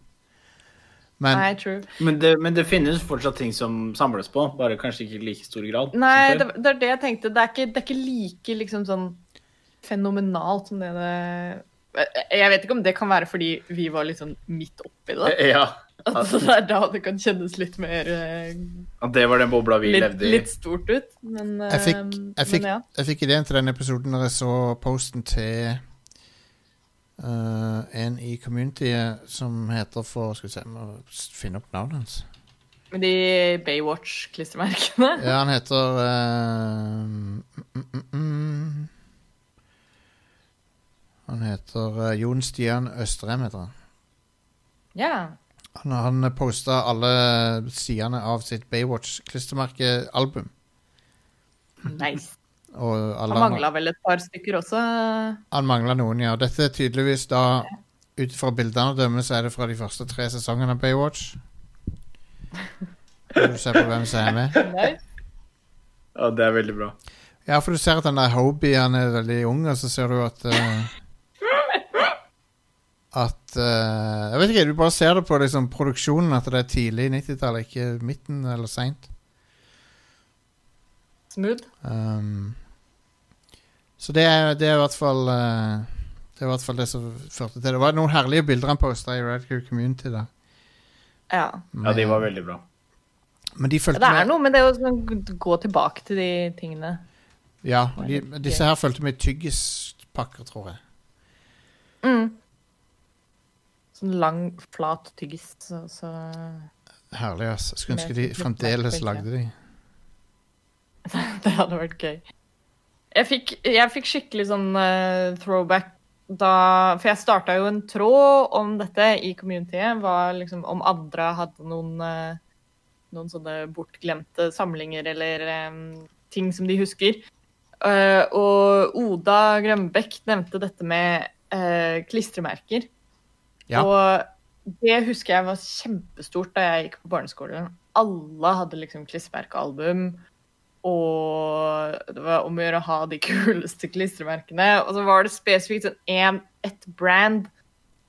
S2: Men
S1: Nei, true.
S3: Men, det. men det finnes fortsatt ting som samles på, bare kanskje ikke i like stor grad. som
S1: Nei,
S3: før.
S1: det, det er det jeg tenkte. Det er ikke, det er ikke like liksom sånn fenomenalt som det det Jeg vet ikke om det kan være fordi vi var liksom midt oppi det.
S3: Ja.
S1: At det er da det kan kjennes litt mer eh,
S3: At det var den bobla vi
S1: litt,
S3: levde i.
S1: litt stort ut. Men,
S2: Jeg fikk,
S1: eh,
S2: jeg, fikk,
S1: men ja.
S2: jeg fikk ideen til den episoden når jeg så posten til eh, en i communityet som heter for Skal vi se, jeg må s- finne opp navnet hans.
S1: Med de Baywatch-klistremerkene.
S2: Ja, han heter eh, mm, mm, mm. Han heter eh, Jon Stian Østrem, heter han.
S1: Ja.
S2: Han, han posta alle sidene av sitt Baywatch-klistremerkealbum.
S1: Nice.
S2: Og alle
S1: Han mangla vel et par stykker også.
S2: Han mangler noen, ja. Dette er tydeligvis da Ut fra bildene å dømme, så er det fra de første tre sesongene av Baywatch. Når du ser på hvem som er med.
S1: Nice.
S3: Ja, det er veldig bra.
S2: Ja, for du ser at den der Hobie han er veldig ung, og så ser du at eh, At eh, Jeg vet ikke, du bare ser det på liksom, produksjonen at det er tidlig 90-tallet, ikke midten eller seint.
S1: Smooth.
S2: Um, så det er, det er i hvert fall eh, Det er i hvert fall det som førte til det. Det var noen herlige bilder han posta i Red Crew Community da.
S1: Ja.
S3: Ja, de var veldig bra.
S2: Men de fulgte
S1: Det er
S2: med
S1: noe med det å sånn gå tilbake til de tingene.
S2: Ja, de, disse her fulgte med tyggispakker, tror jeg.
S1: Sånn lang, flat tyggis. Så, så
S2: Herlig, ass. Jeg Skulle ønske
S1: Med-
S2: de fremdeles lagde de.
S1: det hadde vært gøy. Jeg fikk, jeg fikk skikkelig sånn eh, throwback da For jeg starta jo en tråd om dette i communityet. Var liksom, om andre hadde noen, eh, noen sånne bortglemte samlinger eller eh, ting som de husker. Eh, og Oda Grønbekk nevnte dette med eh, klistremerker.
S2: Ja.
S1: Og det husker jeg var kjempestort da jeg gikk på barneskolen. Alle hadde liksom klistremerkealbum. Og det var om å gjøre å ha de kuleste klistremerkene. Og så var det spesifikt sånn en, et brand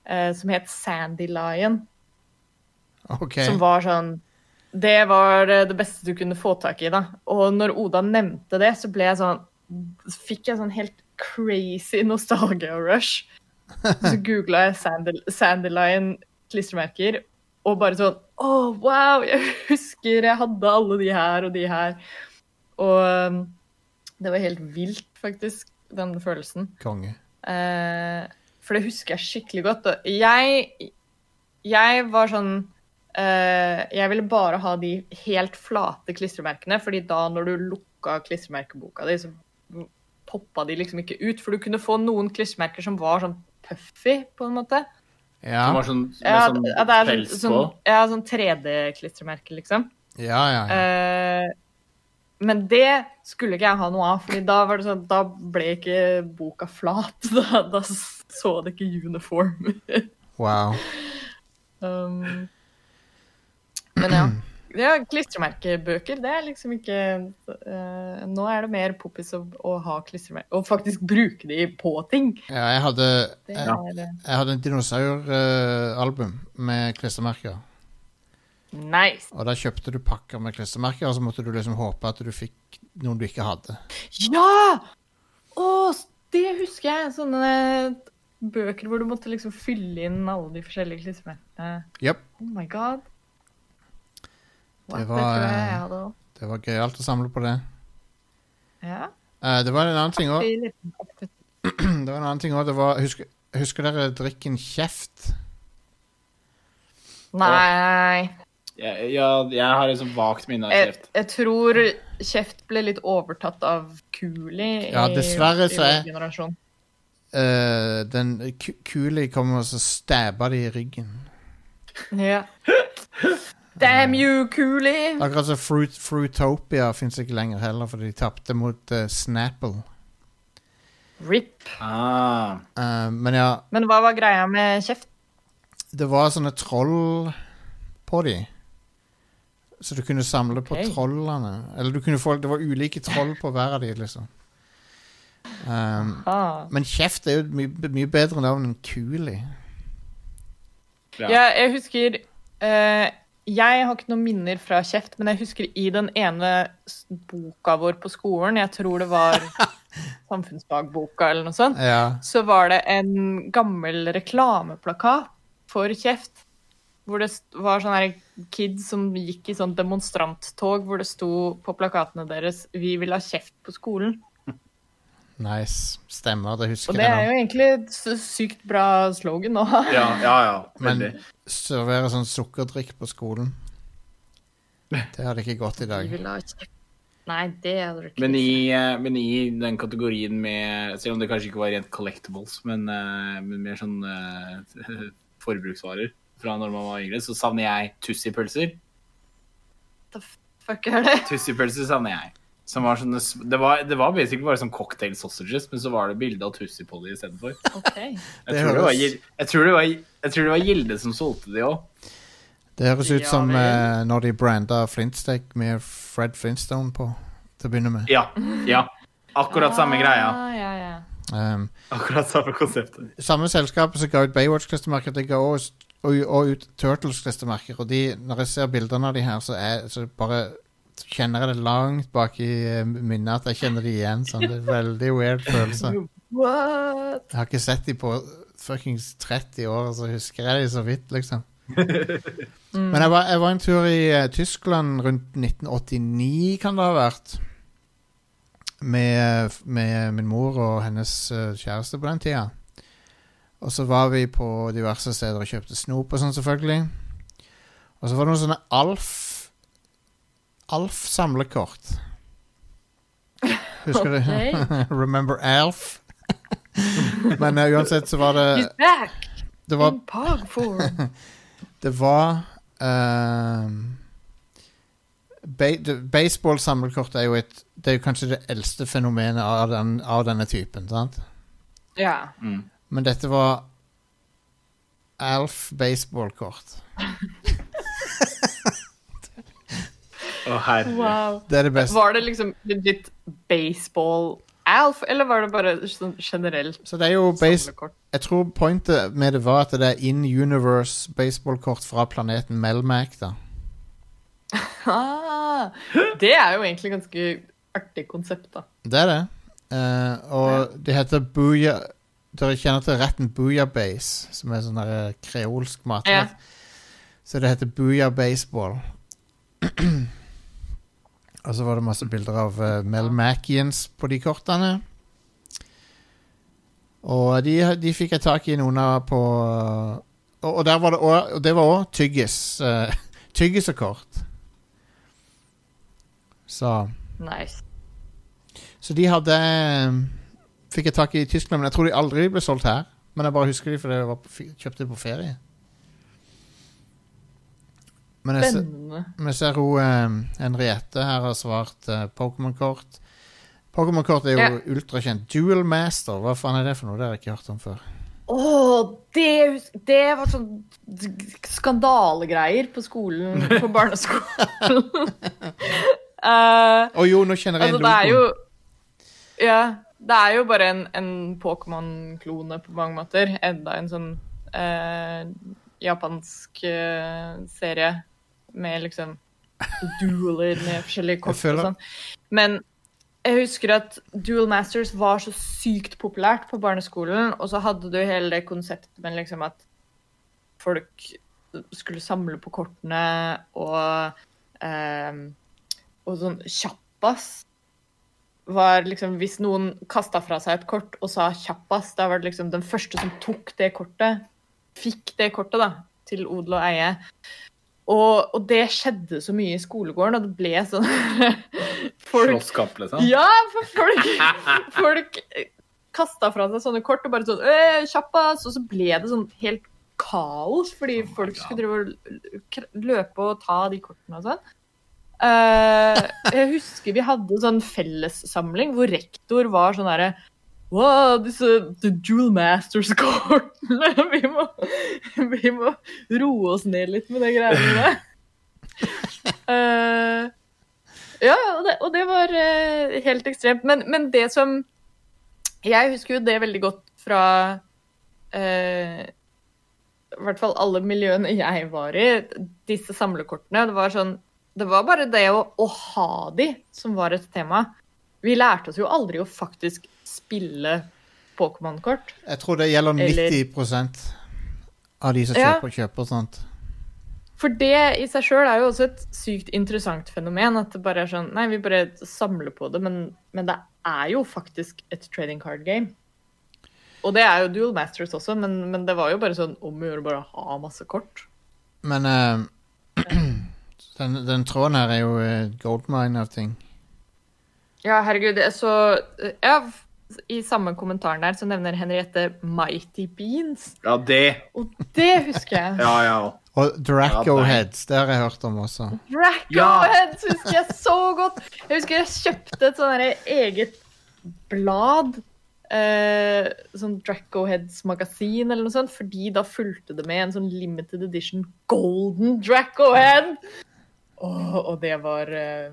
S1: eh, som het Sandy Lion.
S2: OK.
S1: Som var sånn Det var eh, det beste du kunne få tak i, da. Og når Oda nevnte det, så ble jeg sånn Så fikk jeg sånn helt crazy nostalgia-rush. Så googla jeg Sandal- Sandalion klistremerker, og bare sånn Å, wow! Jeg husker jeg hadde alle de her og de her. Og um, det var helt vilt, faktisk, den følelsen.
S2: Konge.
S1: Eh, for det husker jeg skikkelig godt. Og jeg, jeg var sånn eh, Jeg ville bare ha de helt flate klistremerkene, fordi da når du lukka klistremerkeboka di, så poppa de liksom ikke ut. For du kunne få noen klistremerker som var sånn puffy, på en måte.
S2: Ja,
S3: Som var sånn, med
S1: Ja,
S3: sånn
S1: at det er sånn,
S3: pels
S1: sånn,
S3: på.
S1: ja, sånn 3D-klistremerke, liksom.
S2: ja, ja. ja.
S1: Eh, men det skulle ikke jeg ha noe av, Fordi da var det sånn, da ble ikke boka flat. Da, da så det ikke uniform ut.
S2: Wow.
S1: um, men ja. ja. Klistremerkebøker, det er liksom ikke eh, Nå er det mer poppis å, å ha klistremerker, og faktisk bruke de på ting.
S2: Ja, jeg hadde,
S1: Det
S2: jeg,
S1: er, eh,
S3: Ja.
S2: jeg hadde en dinosauralbum med klistremerker.
S1: nice.
S2: Og da kjøpte du pakker med klistremerker, og så måtte du liksom håpe at du fikk noen du ikke hadde.
S1: Ja! Å, det husker jeg. Sånne bøker hvor du måtte liksom fylle inn alle de forskjellige klistremerkene.
S2: Jepp.
S1: Oh my god. Wow,
S2: Det
S1: det,
S2: var,
S1: tror jeg
S2: eh,
S1: jeg hadde òg.
S2: Det var gøyalt å samle på det.
S1: Ja.
S2: Eh, det var en annen ting òg.
S1: i liten oppfytt.
S2: Det var en annen ting også, det var, husker, husker dere drikken Kjeft?
S1: Nei
S3: Ja, ja, jeg har et sånt vagt minne av
S1: jeg,
S3: kjeft.
S1: jeg tror kjeft ble litt overtatt av kuli.
S2: Ja,
S1: i-
S2: dessverre
S1: i
S2: så
S1: vår
S2: er-
S1: generasjon.
S2: Eh, den ku- kuli kom og så stabba de i ryggen.
S1: Ja. Damn you, kuli!
S2: Akkurat som Fruit, Fruitopia fins ikke lenger heller, for de tapte mot eh, Snapple.
S1: RIP.
S3: Ah,
S2: Eh, men ja,
S1: Men hva var greia med kjeft?
S2: det var sånne troll på de. Så du kunne samle
S1: Ok.
S2: på trollene. Eller du kunne få Det var ulike troll på hver av de, liksom. Um,
S1: Ah.
S2: men kjeft er jo et mye, mye bedre navn enn kuli.
S3: ja.
S1: Ja, jeg husker eh, Jeg har ikke noen minner fra kjeft, men jeg husker i den ene s- boka vår på skolen, jeg tror det var samfunnsfagboka eller noe sånt,
S2: Ja.
S1: så var det en gammel reklameplakat for kjeft. Hvor det st- var sånne her kids som gikk i sånn demonstranttog, hvor det sto på plakatene deres 'Vi vil ha kjeft på skolen'.
S2: Nice. Stemmer, det husker
S1: Og det er
S2: jeg nå.
S1: jo egentlig et s- sykt bra slogan å ha.
S3: Ja, ja. ja
S2: Men
S3: veldig.
S2: servere sånn sukkerdrikk på skolen Det hadde ikke gått
S1: Vi
S2: i dag.
S1: vil ha kjeft. Nei, det hadde du ikke.
S3: Men i, eh, men i den kategorien med Selv om det kanskje ikke var rent collectibles, men, eh, men mer sånn eh, forbruksvarer fra når man var yngre, så savner jeg tussipølser.
S1: What the fuck er det?
S3: Tussipølser savner jeg. Som var sånne, s- det, var, det var basically bare sånn cocktail sausages, men så var det bilde av tussi på de istedenfor.
S1: Ok.
S2: Det
S3: Jeg, tror det var
S2: høres-
S3: Gil- jeg, tror det var- jeg tror det var Gilde som solgte de òg.
S2: Det høres ut
S1: Ja
S2: som
S1: vel.
S2: eh, når de branda flintsteak med Fred Flintstone på, til å begynne med.
S3: Ja. ja. Akkurat samme greia.
S1: Ah, ja, ja.
S2: Um,
S3: Akkurat samme konseptet.
S2: samme selskapet som ga ut Baywatch-klistremerker, det ga også og, og ut Turtles-klistremerker. Og de, når jeg ser bildene av de her, så, er, så bare kjenner jeg det langt bak i eh, minnet at jeg kjenner de igjen. Sånn. Det er en veldig weird følelse.
S1: What?
S2: Jeg har ikke sett de på fuckings 30 år, så husker jeg de så vidt, liksom.
S1: Mm.
S2: Men jeg var, jeg var en tur i eh, Tyskland rundt 1989, kan det ha vært. Med, med min mor og hennes eh, kjæreste på den tida. Og så var vi på diverse steder og kjøpte snop og sånn, selvfølgelig. Og så var det noen sånne Alf Alf-samlekort. Husker du? Remember Alf? Men eh, uansett så var det
S1: He's back
S2: Det var,
S1: in pog form.
S2: det var ehm, ba det- Baseball-samlekort er jo et Det er jo kanskje det eldste fenomenet av, den,
S3: Mm.
S2: av denne typen. sant?
S1: ja.
S2: Men dette var Alf baseballkort.
S3: Å, herre.
S1: Wow.
S2: Det er det beste.
S1: Var det liksom legit baseball-Alf, eller var det bare sånn generelt
S2: Så det er jo base,
S1: samlekort?
S2: Jeg tror pointet med det var at det er in universe baseballkort fra planeten Melmac, da.
S1: Ah, det er jo egentlig ganske artig konsept, da.
S2: Det er det. Eh, og det heter Booyah Dere kjenner til retten Booyah-base, som er sånn der eh, kreolsk matrett. Så det heter Booyah Baseball. og så var det masse bilder av eh, Melmacians på de kortene. Og de, de fikk jeg tak i noen av på Og, og der var det også, og det var òg tyggis. eh, tyggis og kort. Så
S1: Nice.
S2: så de hadde eh, Fikk jeg tak i i Tyskland, men jeg tror de aldri ble solgt her. Men jeg bare husker de fordi jeg var på, fi- kjøpte de på ferie. Men jeg, se-
S1: Spennende.
S2: men jeg ser hun eh, Henriette her har svart eh, Pokémon-kort. Pokémon-kort er jo
S1: Ja.
S2: ultrakjent. Duel Master, hva faen er det for noe? Det har jeg ikke hørt om før.
S1: Å, det, hus- det var sånn skandalegreier på skolen, på barneskolen. Eh,
S2: Å jo, nå kjenner jeg
S1: altså,
S2: igjen
S1: det er jo
S2: logoen.
S1: Ja. Det er jo bare en, en Pokémon-klone på mange måter. Enda en sånn eh, japansk eh, serie med liksom dueler med forskjellige kort
S2: føler-
S1: og sånn. Men jeg husker at Duel Masters var så sykt populært på barneskolen, og så hadde du hele det konseptet med liksom at folk skulle samle på kortene og ehm, Og sånn kjappas var liksom Hvis noen kasta fra seg et kort og sa kjappas, da var det liksom den første som tok det kortet, fikk det kortet, da, til odel og eie. Og, og det skjedde så mye i skolegården, og det ble sånn Folk
S3: Slåsskamp, liksom.
S1: ja, for folk, folk kasta fra seg sånne kort og bare sånn «Øh, Kjappas! Og så ble det sånn helt kaos, fordi
S3: Oh my
S1: folk
S3: God.
S1: skulle drive og l- kr- løpe og ta de kortene og sånn. Eh, jeg husker vi hadde sånn fellessamling hvor rektor var sånn derre Wow, disse The Duel Masters-kortene! Vi, må- vi må roe oss ned litt med de greiene der. Eh, ja, og det, og det var eh, helt ekstremt. Men, men det som Jeg husker jo det veldig godt fra eh, I hvert fall alle miljøene jeg var i, disse samlekortene. Det var sånn Det var bare det å, å ha de som var et tema. Vi lærte oss jo aldri å faktisk spille Pokémon-kort.
S2: Jeg tror det gjelder
S1: Eller-
S2: 90 av de som
S1: Ja.
S2: kjøper, kjøper sånt.
S1: For det i seg sjøl er jo også et sykt interessant fenomen. At det bare er sånn Nei, vi bare samler på det, men, men det er jo faktisk et trading card game. Og det er jo Dual Masters også, men, men det var jo bare sånn om å gjøre å bare ha masse kort.
S2: Men eh, den, den tråden her er jo uh, goldmine av ting.
S1: Ja, herregud, jeg så Ja, i samme kommentaren der så nevner Henriette Mighty Beans,
S3: Ja, det.
S1: og det husker jeg.
S3: Ja, ja.
S2: Og
S3: Ja,
S2: Draco
S3: nei.
S2: Heads, det har jeg hørt om også.
S3: Ja.
S1: Dracoheads husker jeg så godt. Jeg husker jeg kjøpte et sånn derre eget blad. Eh, sånn Dracoheads magasin eller noe sånt, fordi da fulgte det med en sånn limited edition golden Dracohead. Åh, og det var eh,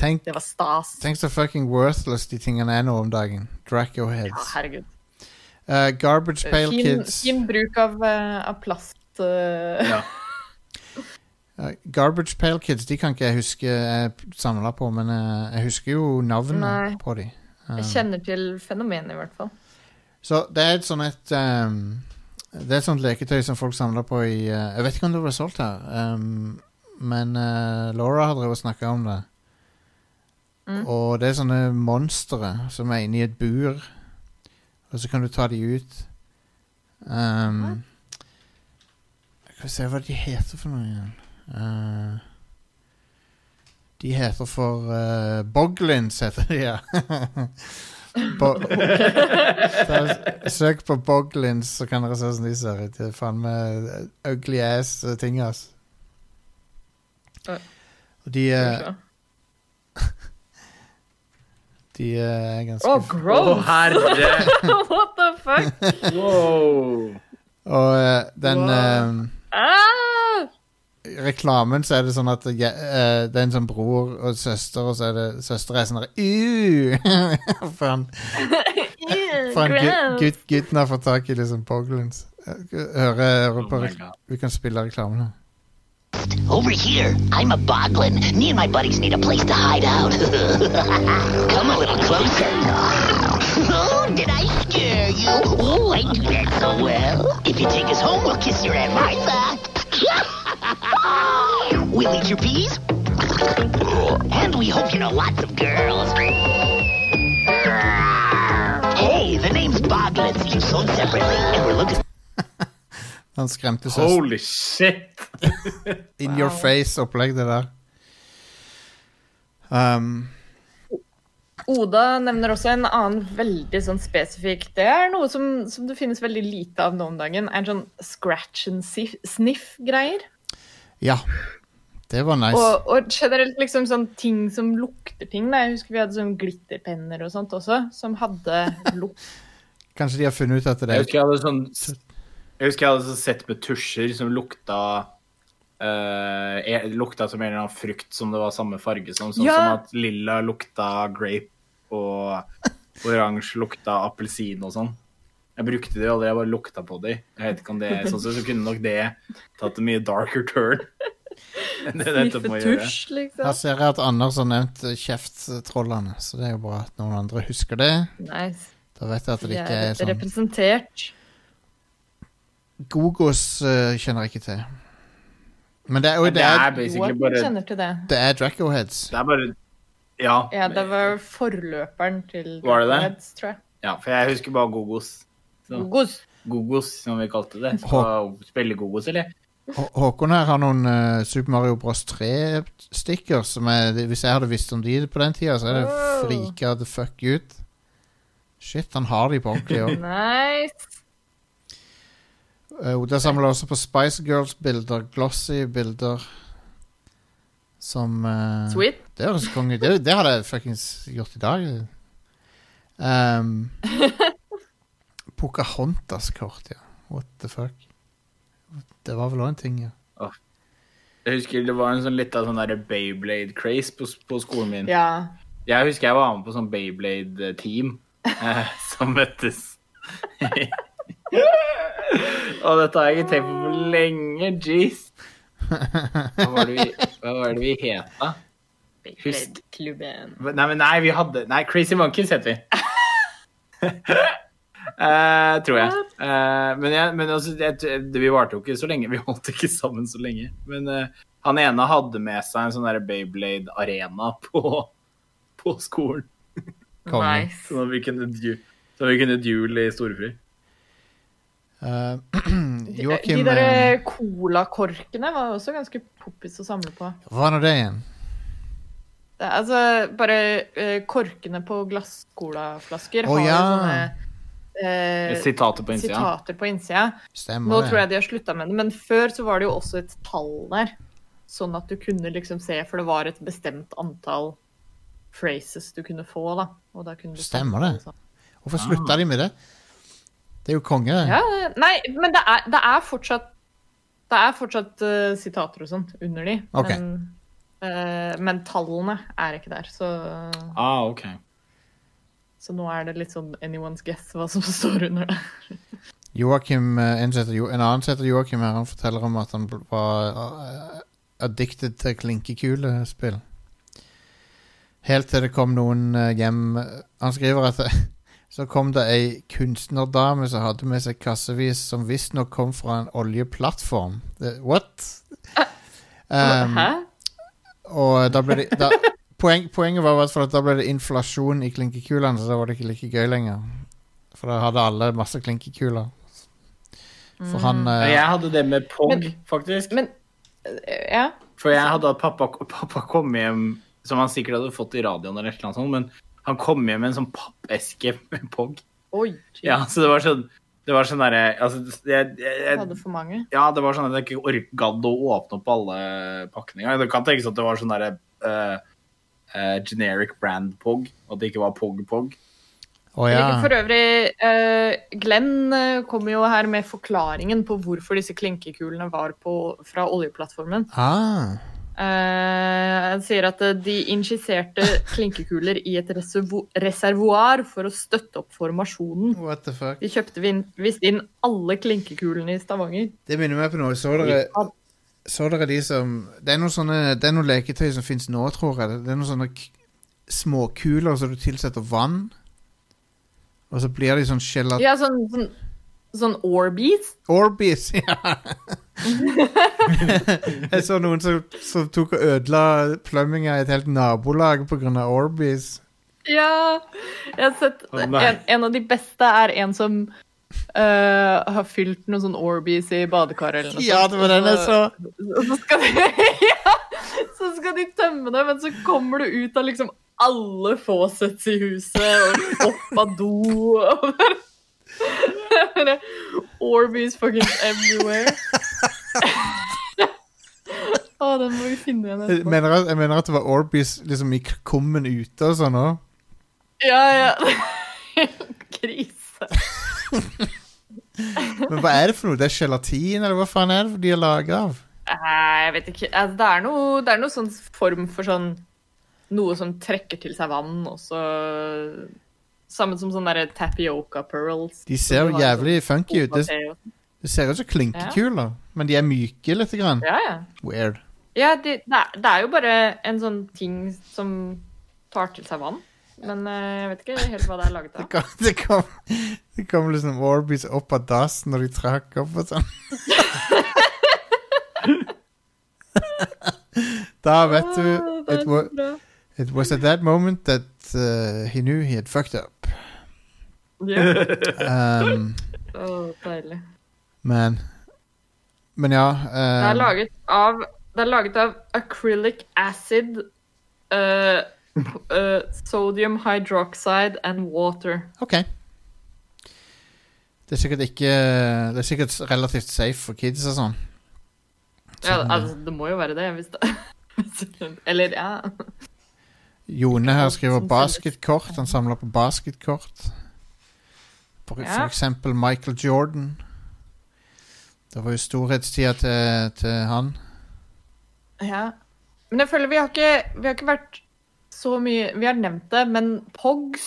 S2: Tenk,
S1: Det var stas.
S2: tenk så fucking worthless de tingene er nå om dagen. Draco
S1: Ja,
S2: Heads.
S1: herregud.
S2: Eh, garbage Pail
S1: Fin,
S2: Kids.
S1: fin bruk av, eh, av plast. eh,
S3: ja.
S2: Eh, garbage Pail Kids de kan ikke jeg huske jeg samla på, men eh, jeg husker jo navnene
S1: Nei.
S2: på de. Eh,
S1: Jeg kjenner til fenomenet, i hvert fall.
S2: så det er et sånn et ehm, Det er et sånt leketøy som folk samler på i eh, Jeg vet ikke om det ble solgt her, ehm, men eh, Laura har drevet og snakka om det.
S1: Mm.
S2: Og det er sånne monstre som er inni et bur, og så kan du ta de ut. Ehm, Skal vi se hva de heter for noe igjen Eh, De heter for eh, Boglins, heter de, ja. Bo Så Søk på Boglins, så kan dere se hvordan de ser ut. Det er faen meg ugly ass eh, ting, ass.
S1: Ja.
S2: Og
S1: Skal
S2: de,
S1: vi
S2: eh,
S1: se.
S2: de eh, er ganske
S1: Åh,
S2: f-
S3: Å,
S1: gross!
S3: herre.
S1: What the fuck?
S3: Wow.
S2: Og eh, den
S1: Wow.
S2: eh,
S1: Ah!
S2: reklamen så er det sånn at eh, eh, det er en sånn bror og søster, og så er det søster er sånn der, uh, For han,
S1: Ew,
S2: for han gu-
S1: gross.
S2: gutt, gutten har fått tak i liksom Poglins. Høre, høre på
S3: Oh my
S2: rekl-
S3: God.
S2: Vi kan spille reklamen her.
S4: Over here, I'm a boglin. Me and my buddies need a place to hide out. Come a little closer. oh, did I scare you? Oh, I do that so well. If you take us home, we'll kiss your Aunt Martha. we'll eat your peas. And we hope you know lots of girls. Hey, the name's Boglins. You sold separately, and we're looking.
S2: Han skremte søster.
S3: Holy shit!
S2: In your face-opplegg, det der. Um,
S1: Oda nevner også en annen veldig sånn spesifikk Det er noe som, som det finnes veldig lite av nå om dagen. Er en sånn scratch and sniff- sniff-greier.
S2: ja. Det var nice.
S1: Og, og generelt liksom sånn ting som lukter ting. Da. Jeg husker vi hadde sånn glitterpenner og sånt også, som hadde lukt.
S2: Kanskje de har funnet ut at det
S3: Jeg
S2: er
S3: husker jeg hadde sånn Jeg husker jeg hadde sånn sett med tusjer som lukta eh, eh, lukta som en eller annen frukt som det var samme farge som. Sånn
S1: Ja.
S3: som at lilla lukta grape, og oransje lukta appelsin og sånn. Jeg brukte det jo aldri, jeg bare lukta på det. Jeg vet ikke om det, sånn sett så kunne nok det tatt en mye darker turn. enn det det endte opp med å gjøre.
S1: Sniffetusj,
S2: Her
S1: liksom.
S2: ser jeg at Anders har nevnt eh, kjeftstrollene, så det er jo bra at noen andre husker det.
S1: Nice.
S2: Da vet jeg at det
S1: De
S2: ikke
S1: er
S2: er sånn
S1: representert.
S2: Gogos eh, kjenner jeg ikke til. Men det er jo
S3: Men
S2: det er,
S3: basically
S1: Joakim
S3: bare
S1: kjenner til det.
S2: det er Dracoheads.
S3: Det er bare Ja.
S1: Ja, det var forløperen til
S3: Var det det?
S1: Heads, tror jeg.
S3: ja for jeg husker bare Gogos. Så-
S1: Gogos.
S3: Gogos, som vi kalte det.
S2: Hå-
S3: Skal spille Gogos, eller?
S2: Hå- Håkon her har noen eh, Super Mario Bros. 3-stikker som er Hvis jeg hadde visst om de på den tida, så er det
S1: Wow.
S2: frika the fuck ut. Shit, han har de på ordentlig òg.
S1: Nice.
S2: Eh, Oda samler også på Spice Girls-bilder, glossy-bilder som eh,
S1: Sweet.
S2: Det høres konge ut. Det, det hadde jeg fuckings gjort i dag. Ehm, Pocahontas-kort, ja. What the fuck. Det var vel òg en ting, ja.
S3: Jeg husker det var en sånn litt av sånn der Bayblade-craze på, på skolen min.
S1: Ja.
S3: Jeg husker jeg var med på sånn Bayblade-team eh, som møttes. Og dette har jeg ikke tenkt på for lenge. Jeez. Hva var det vi, hva var det vi het, da? Husk-
S1: Klubben.
S3: Nei, men nei, vi hadde Nei, Crazy Monkeys heter vi. Eh, tror jeg. Eh, men jeg, men altså, jeg, vi varte jo ikke så lenge. Vi holdt ikke sammen så lenge. Men eh, han ene hadde med seg en sånn der Bayblade Arena på, på skolen.
S2: Konge.
S1: Nice.
S3: Sånn at vi kunne, du- sånn at vi kunne duel i storefri.
S2: Eh,
S1: De
S2: Joakim
S1: der
S2: eh,
S1: colakorkene var også ganske poppis å samle på.
S2: Hva er nå det igjen?
S1: Det, er altså, bare eh, korkene på glasscolaflasker
S2: Å,
S1: har jo
S2: ja.
S1: sånne eh,
S3: Sitatet på innsida.
S1: sitater på innsida. Nå
S2: Stemmer
S1: tror
S2: det?
S1: jeg de har slutta med det, men før så var det jo også et tall der. Sånn at du kunne liksom se, for det var et bestemt antall phrases du kunne få, da. Og da kunne du sånn.
S2: Stemmer det.
S1: samle
S2: Hvorfor slutta de med det? Det er jo konge. det.
S1: Ah. Ja, nei, men det er, det er fortsatt Det er fortsatt eh, sitater og sånt under de.
S2: Ok.
S1: Men, eh, men tallene er ikke der. Så,
S3: Ah, ok.
S1: så nå er det litt sånn anyone's guess hva som står under det.
S2: Joakim, eh, en, som heter jo, en annen som heter Joakim her, han forteller om at han bl- var eh, addicted til klinkekulespill. Helt til det kom noen eh, hjem Han skriver at det, så kom det ei kunstnerdame som hadde med seg kassevis som visstnok kom fra en oljeplattform. Det- What? Um,
S1: Hæ?
S2: og eh, da ble det da, poeng, Poenget var i hvert fall at da ble det inflasjon i klinkekulene, så da var det ikke like gøy lenger. For da hadde alle masse klinkekuler. For han eh,
S3: Jeg hadde det med Pog,
S1: Men-
S3: faktisk.
S1: Men eh, Ja.
S3: For jeg hadde at pappa, pappa kom hjem, som han sikkert hadde fått i radioen eller et eller annet sånt, men han kom hjem med en sånn pappeske med POG.
S1: Oi. shit,
S3: Ja, så det var sånn, det var sånn derre altså, jeg, jeg,
S1: Jeg
S3: jeg,
S1: hadde for mange.
S3: Ja, det var sånn at jeg ikke ork- gadd å åpne opp alle pakkene engang. Det kan tenkes at det var sånn derre eh, eh, generic brand POG, og at det ikke var POG-POG.
S2: Å ja.
S1: For øvrig, eh, Glenn eh, kommer jo her med forklaringen på hvorfor disse klinkekulene var på, fra oljeplattformen.
S2: Ah,
S1: Eh, Han sier at eh, de injiserte klinkekuler i et reservo reservoar for å støtte opp formasjonen.
S2: what the fuck.
S1: De kjøpte vin- visst inn alle klinkekulene i Stavanger.
S2: Det minner meg på noe. Så dere, så dere de som Det er noen sånne Det er noen leketøy som fins nå, tror jeg. Det er noen sånne k- småkuler som du tilsetter vann. Og så blir de sånn gelat...
S1: Ja, sånn, sånn, sånn Orbeez.
S2: Orbeez! Ja. jeg så noen som, som tok og ødela plømminga i et helt nabolag pga. Orbeez.
S1: Ja, jeg har sett
S3: Å, nei.
S1: en, en av de beste er en som eh, har fylt noe sånn Orbeez i badekaret eller noe
S2: Ja, det var den jeg så.
S1: Og så skal de, ja, så skal de tømme det, men så kommer du ut av liksom alle faucets i huset, og opp av do, og bare, bare Orbeez fucking everywhere. Å, den må vi finne igjen
S2: Jeg
S1: etterpå.
S2: mener, at- jeg mener at det var Orbeez liksom i k- kummen ute og sånn òg.
S1: Ja, ja. Krise.
S2: Men hva er det for noe? Det er gelatin, eller hva faen er det de er laga av?
S1: Nei, jeg vet ikke. Altså, det, er noe, det er noe sånn form for sånn Noe som trekker til seg vann, og så Samme som sånne der tapioca pearls.
S2: De ser jo jævlig funky ut. Det,
S1: Ja,
S2: det ser ut som klinkekuler, men de er myke lite grann.
S1: ja.
S2: Weird.
S1: ja det, det, er, det er jo bare en sånn ting som tar til seg vann. Men eh, jeg vet ikke helt hva det er laget
S2: Det
S1: av.
S2: kom, det kom, det kom dus liksom Orbeez opp av dassen når de trakk opp og sånn. da vet
S1: Ah,
S2: du
S1: det
S2: it
S1: er så
S2: was,
S1: bra.
S2: it was at that moment that uh, he knew he had fucked up.
S1: Ja.
S2: Um,
S1: Å, deilig.
S2: men Men ja.
S1: Det er
S2: Um,
S1: laget av Det er laget av acrylic acid, eh, eh, sodium hydroxide and water.
S2: OK. Det er sikkert ikke Det er sikkert relativt safe for kids og sånn.
S1: Ja,
S2: Sånn,
S1: altså, det må jo være det, hvis det Eller ja.
S2: Jone her skriver
S1: Som
S2: basketkort. Han samler på basketkort. For, for
S1: Ja.
S2: eksempel Michael Jordan. Det var jo storhetstida til, til han.
S1: ja. Men jeg føler vi har ikke, vi har ikke vært så mye Vi har nevnt det, men Pogs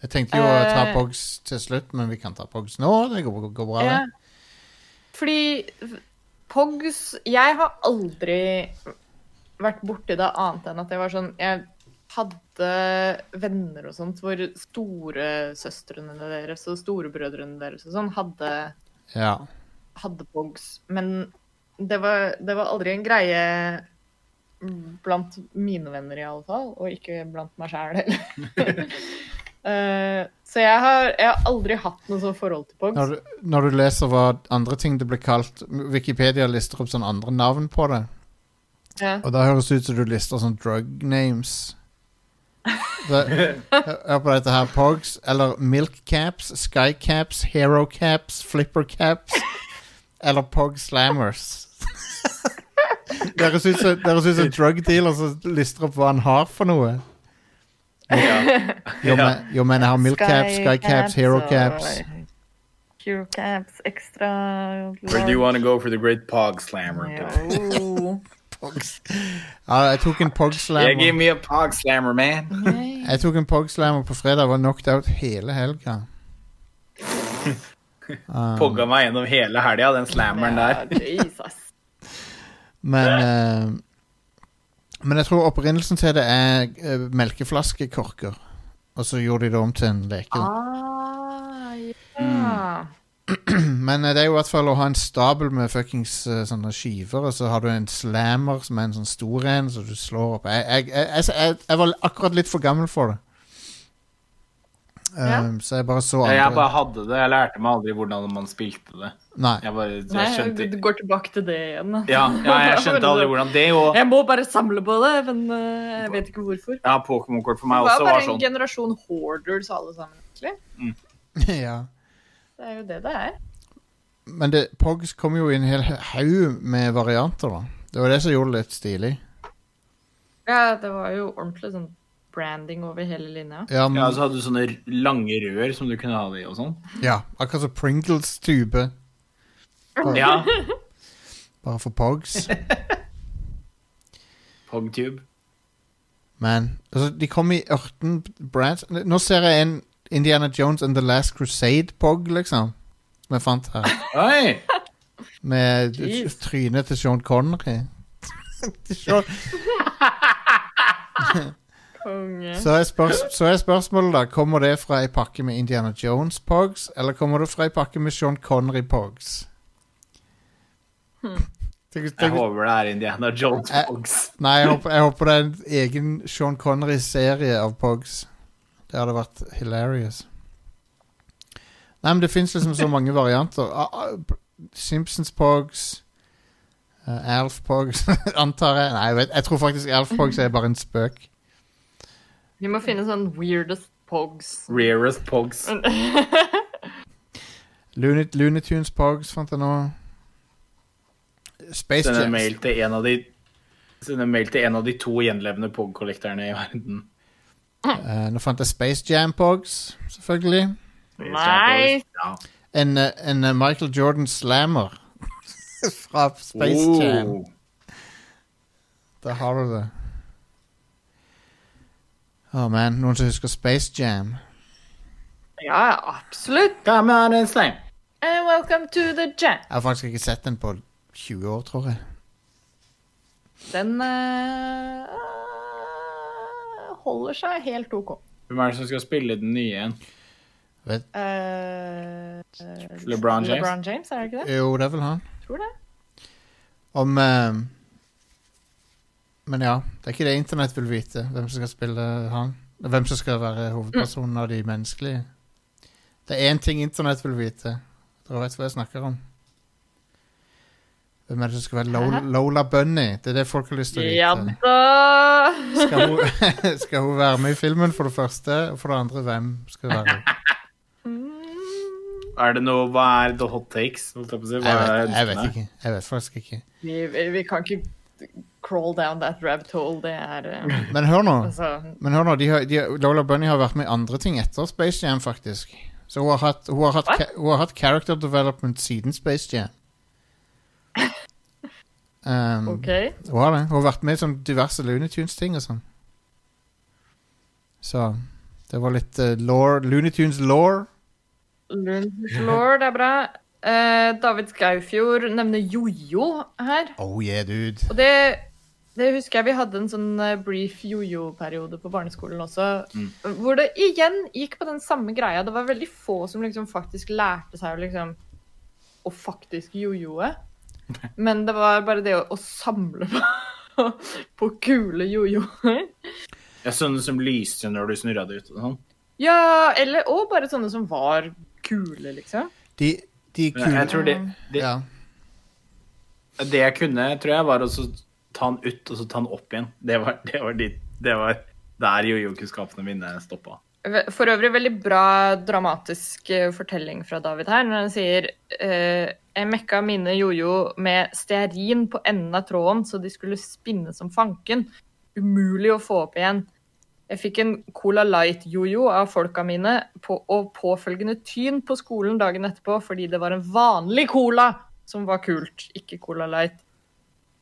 S2: Jeg tenkte jo å ta
S1: Eh.
S2: Pogs til slutt, men vi kan ta Pogs nå. Det går, går bra,
S1: ja.
S2: det.
S1: Fordi Pogs Jeg har aldri vært borti det annet enn at jeg var sånn Jeg hadde venner og sånt hvor storesøstrene deres og storebrødrene deres og sånn hadde,
S2: Ja.
S1: hadde Pogs. Men det var, det var aldri en greie blant mine venner i alle fall, og ikke blant meg sjæl heller. Eh, så jeg har, jeg har aldri hatt noe sånt forhold til Pogs.
S2: Når, du, når du leser hva andre ting det blir kalt Wikipedia lister opp sånne andre navn på det.
S1: Ja.
S2: Og da høres det ut som du lister sånn drug names. Det, hør på dette her. Pogs eller milk caps, sky caps, hero caps, flipper caps eller pog slammers. Det høres ut som det høres ut som en drug dealer som lister opp hva han har for noe.
S3: Ja.
S2: Jo, men, jo, men jeg har milk caps, sky caps, hero
S1: og
S2: caps.
S1: Hero caps, ekstra
S3: Where do you want to go for the great pog slammer?
S2: Pogs. Ja, jeg tok en pog
S3: Yeah,
S2: slammer.
S3: give me a pog slammer, man.
S2: Jeg tok en pog slammer på fredag og var knocked out hele helga.
S3: Pogga meg gjennom hele helga, den slammeren der.
S1: Jesus.
S2: Men eh, Men jeg tror opprinnelsen til det er eh, melkeflaskekorker. Og så gjorde de det om til en leke. da.
S1: Ah,
S3: Mm.
S1: ja.
S2: Men eh, det er jo i hvert fall å ha en stabel med fuckings eh, sånne skiver, og så har du en slammer som er en sånn stor en, så du slår opp. Jeg, jeg, jeg, jeg, jeg, jeg var akkurat litt for gammel for det. Eh,
S1: Ja.
S2: Så jeg bare så
S3: Ja,
S2: andre
S3: Jeg bare hadde det. Jeg lærte meg aldri hvordan man spilte det.
S2: Nei.
S3: Jeg bare,
S1: Nei,
S3: jeg skjønte
S1: du går tilbake til det igjen. da.
S3: ja, ja, jeg skjønte aldri hvordan det og
S1: Jeg må bare samle på det, men eh, jeg vet ikke hvorfor.
S3: ja, Pokémon-kort for
S1: Det
S3: meg
S1: var
S3: også
S1: bare
S3: var
S1: en
S3: sånn.
S1: generasjon hoarders alle sammen, egentlig.
S2: ja.
S1: Det er jo det det er.
S2: Men det, Pogs kom jo i en hel haug med varianter, da. Det var det som gjorde det litt stilig.
S1: Ja, det var jo ordentlig sånn branding over hele linja.
S2: Ja,
S3: Ja, og så hadde du sånne r- lange rør som du kunne ha det i og sånn.
S2: ja akkurat som Pringles-tube,
S3: Ja.
S2: bare for pogs.
S3: Pogtube.
S2: Men altså, de kom i ørten brands. Nå ser jeg en Indiana Jones and The Last Crusade-pog, liksom, som jeg fant her.
S3: Oi!
S2: Med
S1: Jeez.
S2: trynet til Sean Connery. Til Sean-
S1: Konge.
S2: så, er spørs, så er spørsmålet, da. Kommer det fra ei pakke med Indiana Jones-pogs, eller kommer det fra ei pakke med Sean Connery-pogs? Tenk, hvis-
S3: Jeg
S2: tenk, hvis-
S3: håper det er Indiana Jones
S2: Eh.
S3: Pogs.
S2: nei, jeg håper, jeg håper det er en egen Sean Connery-serie av pogs. Det hadde vært hilarious. Nei, men det fins liksom så mange varianter. Ah, ah, Simpsons Pogs, eh, Alf Pogs, antar jeg. Nei, jeg, vet, jeg tror faktisk Alf Pogs er bare en spøk.
S1: Vi må finne sånn weirdest pogs.
S3: Rarest Pogs.
S1: Mm.
S2: Looney, Looney Tunes Pogs fant jeg nå. Space
S3: Send en
S2: Jams.
S3: mail til en av de Send en mail til en av de to gjenlevende Pog-kollektorene i verden.
S2: Eh, nå fant jeg Space Jam Pogs, selvfølgelig.
S1: Nei.
S3: Ja.
S2: En, eh, en eh, Michael Jordan Slammer fra Space
S3: Oh.
S2: Jam. Der har du det. Å man, noen som husker Space Jam?
S1: Ja, absolutt.
S3: Come on and slam.
S1: And Eh, welcome to the jam.
S2: Jeg har faktisk ikke sett den på 20 år, tror jeg.
S1: Den eh, holder seg helt OK.
S3: Hvem er det som skal spille den nye igjen?
S2: Vet,
S1: Eh, eh,
S3: LeBron James?
S1: LeBron James, er det ikke det?
S2: jo, det er vel han.
S1: Tror det.
S2: Om eh, Men ja, det er ikke det internett vil vite. Hvem som skal spille han. Hvem som skal være hovedpersonen av de menneskelige. Det er én ting internett vil vite. Dere vet hva jeg snakker om. Hvem er det som skal være Lola, Lola Bunny? Det er det folk har lyst til å vite.
S1: Ja da!
S2: Skal hun, skal hun være med i filmen, for det første? Og for det andre, hvem skal være med?
S3: Er det noe Hva er the hot takes? holdt jeg på å si? Hva
S2: Jeg
S3: er
S2: vet, jeg
S3: ønskene?
S2: vet ikke. Jeg vet faktisk ikke.
S1: Vi, vi, vi kan ikke crawl down that rabbit hole. Det er eh,
S2: Men hør nå.
S1: altså
S2: Men hør nå de har, de, Lola Bunny har vært med i andre ting etter Space Jam, faktisk. Så hun har hatt, hun har hatt,
S1: What?
S2: ka- hun har hatt character development siden Space Jam. Um,
S1: OK.
S2: Hun har det. Hun har vært med i sånn diverse Looney Tunes-ting og sånn. Så det var litt uh, lore, Looney Tunes-law.
S1: Lund's Lord er bra. Eh, David Skaufjord nevner jojo her.
S2: Oh yeah, dude.
S1: Og det, det husker jeg vi hadde en sånn eh, brief jojo-periode på barneskolen også. Hvor det igjen gikk på den samme greia. Det var veldig få som liksom faktisk lærte seg å liksom Å faktisk jojoe. Men det var bare det å, å samle på, på kule jojoer.
S3: Ja, sånne som lyste når du snurra det ut og sånn.
S1: Ja, eller Og bare sånne som var kule, liksom.
S2: De, de
S3: Men
S2: kule
S3: Jeg tror det, det,
S2: Ja.
S3: det jeg kunne, tror jeg, var å så ta den ut, og så ta den opp igjen. Det var, det var, dit, det var der jojo-kunnskapene mine stoppa.
S1: Ve- For øvrig veldig bra dramatisk eh, fortelling fra David her, når han sier eh, jeg mekka mine jojo med stearin på enden av tråden, så de skulle spinne som fanken. Umulig å få opp igjen. Jeg fikk en Cola Light-jojo av folka mine på, og påfølgende tyn på skolen dagen etterpå fordi det var en vanlig cola som var kult, ikke Cola Light.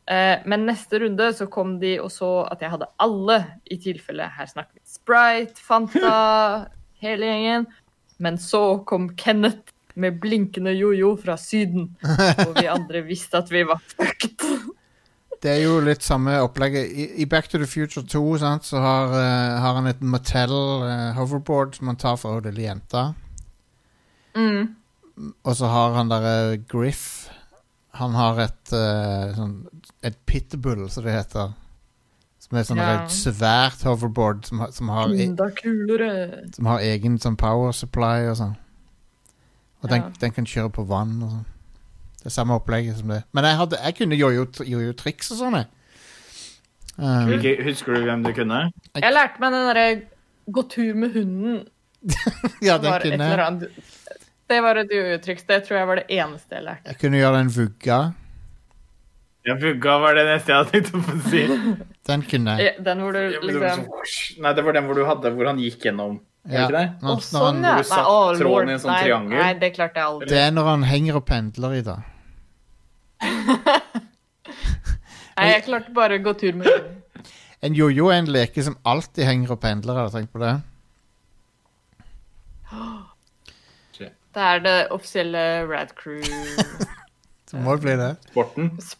S1: Eh, Men neste runde så kom de og så at jeg hadde alle i tilfelle. Her snakker vi Sprite, Fanta, hele gjengen. Men så kom Kenneth med blinkende jojo fra Syden. Og vi andre visste at vi var fucked.
S2: Det er jo litt samme opplegget. I, i Back to the Future 2 sant, så har, eh, har han et Mattel eh, hoverboard som han tar fra hun lille jenta.
S1: Mm.
S2: Og så har han derre Griff. Han har et, eh, sånn, et pitbull, som det heter. Som er sånn
S1: Ja. Mm.
S2: et svært hoverboard som, har- som, har, e-
S1: Enda kulere.
S2: som har egen sånn power supply og sånn. Og den,
S1: Ja.
S2: den kan kjøre på vann og sånn. Det er samme opplegget som det. Men jeg, hadde, jeg kunne jojo- jojo-triks og sånn, jeg. Um,
S3: Hvilke- Husker du hvem du kunne?
S1: Jeg lærte meg den derre gå tur med hunden.
S2: Ja,
S1: som
S2: den
S1: var et
S2: kunne
S1: eller
S2: jeg.
S1: annet. Det var et jojo-triks. Det tror jeg var det eneste jeg lærte.
S2: Jeg kunne gjøre en vugga.
S3: Jeg funka, var det neste jeg hadde tenkt å få si.
S2: Den kunne jeg.
S1: Ja, Eh, Den hvor du liksom
S3: sånn, Nei, det var den hvor du hadde, hvor han gikk gjennom.
S2: Ja.
S3: Er det ikke det?
S2: Når,
S1: Å,
S2: når
S1: sånn,
S2: han,
S1: ja.
S3: hvor du satt
S1: Nei, å,
S3: tråden
S1: lord.
S3: i en sånn
S1: Nei,
S3: triangel.
S1: Nei, det klarte jeg aldri.
S2: Det er når han henger og pendler i det.
S1: Nei, jeg klarte bare å gå tur med hunden.
S2: En jojo er en leke som alltid henger og pendler. Har du tenkt på det?
S1: Det er det offisielle Rad Crew-sporten.
S2: Det må jo bli det.
S3: Sporten.
S1: det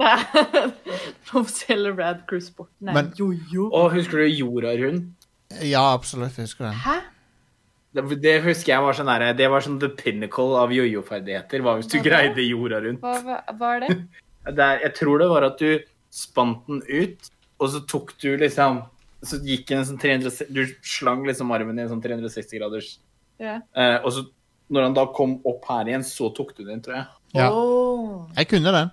S1: er- Den offisielle Rad Crew-sporten er
S2: Men-
S1: jojo.
S3: Og husker du Jorarund?
S2: Ja, absolutt. Jeg husker den.
S1: Hæ?
S3: Det, det husker jeg var sånn der, Det var sånn the pinnacle av jojo-ferdigheter. Var hvis du
S1: Hva da?
S3: greide jorda rundt.
S1: Hva, hva, hva er det?
S3: Det er- jeg tror det var at du spant den ut, og så tok du liksom Så gikk den en sånn 300 Du slang liksom armen i en sånn 360 graders
S1: Ja.
S3: eh, Og så når han da kom opp her igjen, så tok du den, tror jeg.
S2: Ja.
S1: Oh,
S2: Jeg kunne den.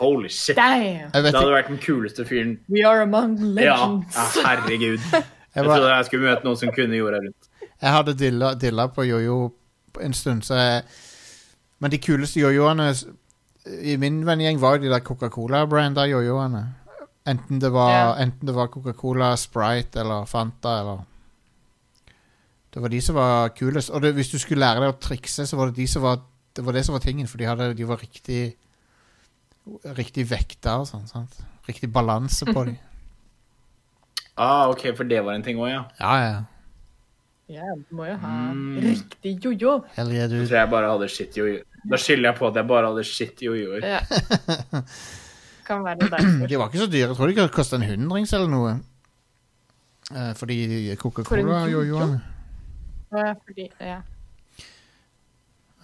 S3: Holy shit.
S1: damn!
S2: Jeg
S3: Det
S2: vet
S3: hadde
S2: ikke.
S3: vært den kuleste fyren.
S1: We are among
S3: Ja,
S1: legends.
S3: ja herregud. Jeg
S2: Jeg, var,
S3: trodde jeg skulle møte noen som kunne jorda rundt.
S2: jeg hadde dilla, dilla på jojo en stund, så jeg Men de kuleste jojoene s- i min vennegjeng var jo de der Coca-Cola-branda jojoene. Enten det var,
S1: Ja.
S2: enten det var Coca-Cola, Sprite eller Fanta eller Det var de som var kulest. Og det, hvis du skulle lære deg å trikse, så var det de som var, det, var det som var tingen, for de, hadde, de var riktig Riktig vekta og sånn. sant? Riktig balanse på dem.
S3: Ah, OK, for det var en ting òg, ja.
S2: Ja, ja.
S1: Ja, du må jo ha
S3: Mm.
S1: riktig jojo.
S2: Hell yeah,
S3: Jeg
S2: dude.
S3: tror jeg bare hadde shit jojo. Da skylder jeg på at jeg bare hadde shit jojoer.
S1: Ja. Kan være derfor.
S2: De var ikke så dyre. Jeg tror de kosta en hundrings eller noe. Eh, fordi
S1: For en
S2: Coca-Cola
S1: jojo?
S2: gjorde jo det.
S1: Ja, Fordi, ja,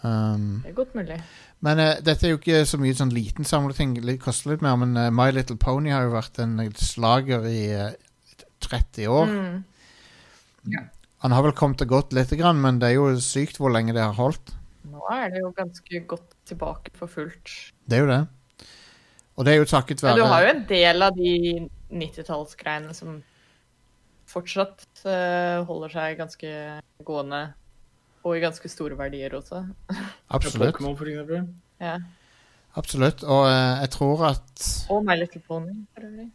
S2: Um,
S1: det er godt mulig.
S2: men eh, dette er jo ikke så mye sånn liten samleting. Det koster litt mer, men eh, My Little Pony har jo vært en slager i eh, 30 år.
S1: Mm.
S2: Han har vel kommet og gått lite grann, men det er jo sykt hvor lenge det har holdt.
S1: Nå er det jo ganske godt tilbake for fullt.
S2: Det er jo det. Og det er jo takket
S1: Men du
S2: være
S1: har jo en del av de 90-tallsgreiene som fortsatt eh, holder seg ganske gående. Og i ganske store verdier også.
S2: Absolutt.
S3: Pokémon, for eksempel.
S1: Ja.
S2: Absolutt. Og eh, jeg tror at
S1: Og My Little Pony, for øvrig.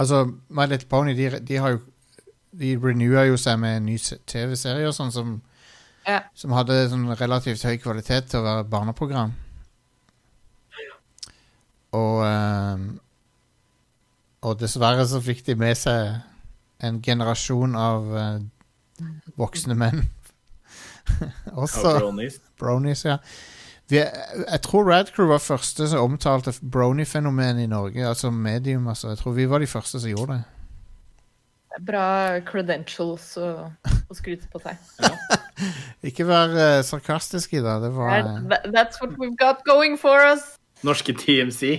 S2: Altså, My Little Pony, de, de har jo De renewer jo seg med en ny se- TV-serie og sånn som
S1: Ja.
S2: Som hadde sånn relativt høy kvalitet til å være et barneprogram. Og eh, Og dessverre så fikk de med seg en generasjon av eh, voksne menn. Også
S3: Pepperonis.
S2: bronies, ja. Vi, jeg, jeg tror Radcrew var første som omtalte brony-fenomenet i Norge, altså medium, altså. Jeg tror vi var de første som gjorde det.
S1: Det er bra credentials å, å skryte på seg.
S2: Ikke vær eh, sarkastisk i det. Det var eh,
S1: That, that- that's what we've got going for us.
S3: Norske TMC.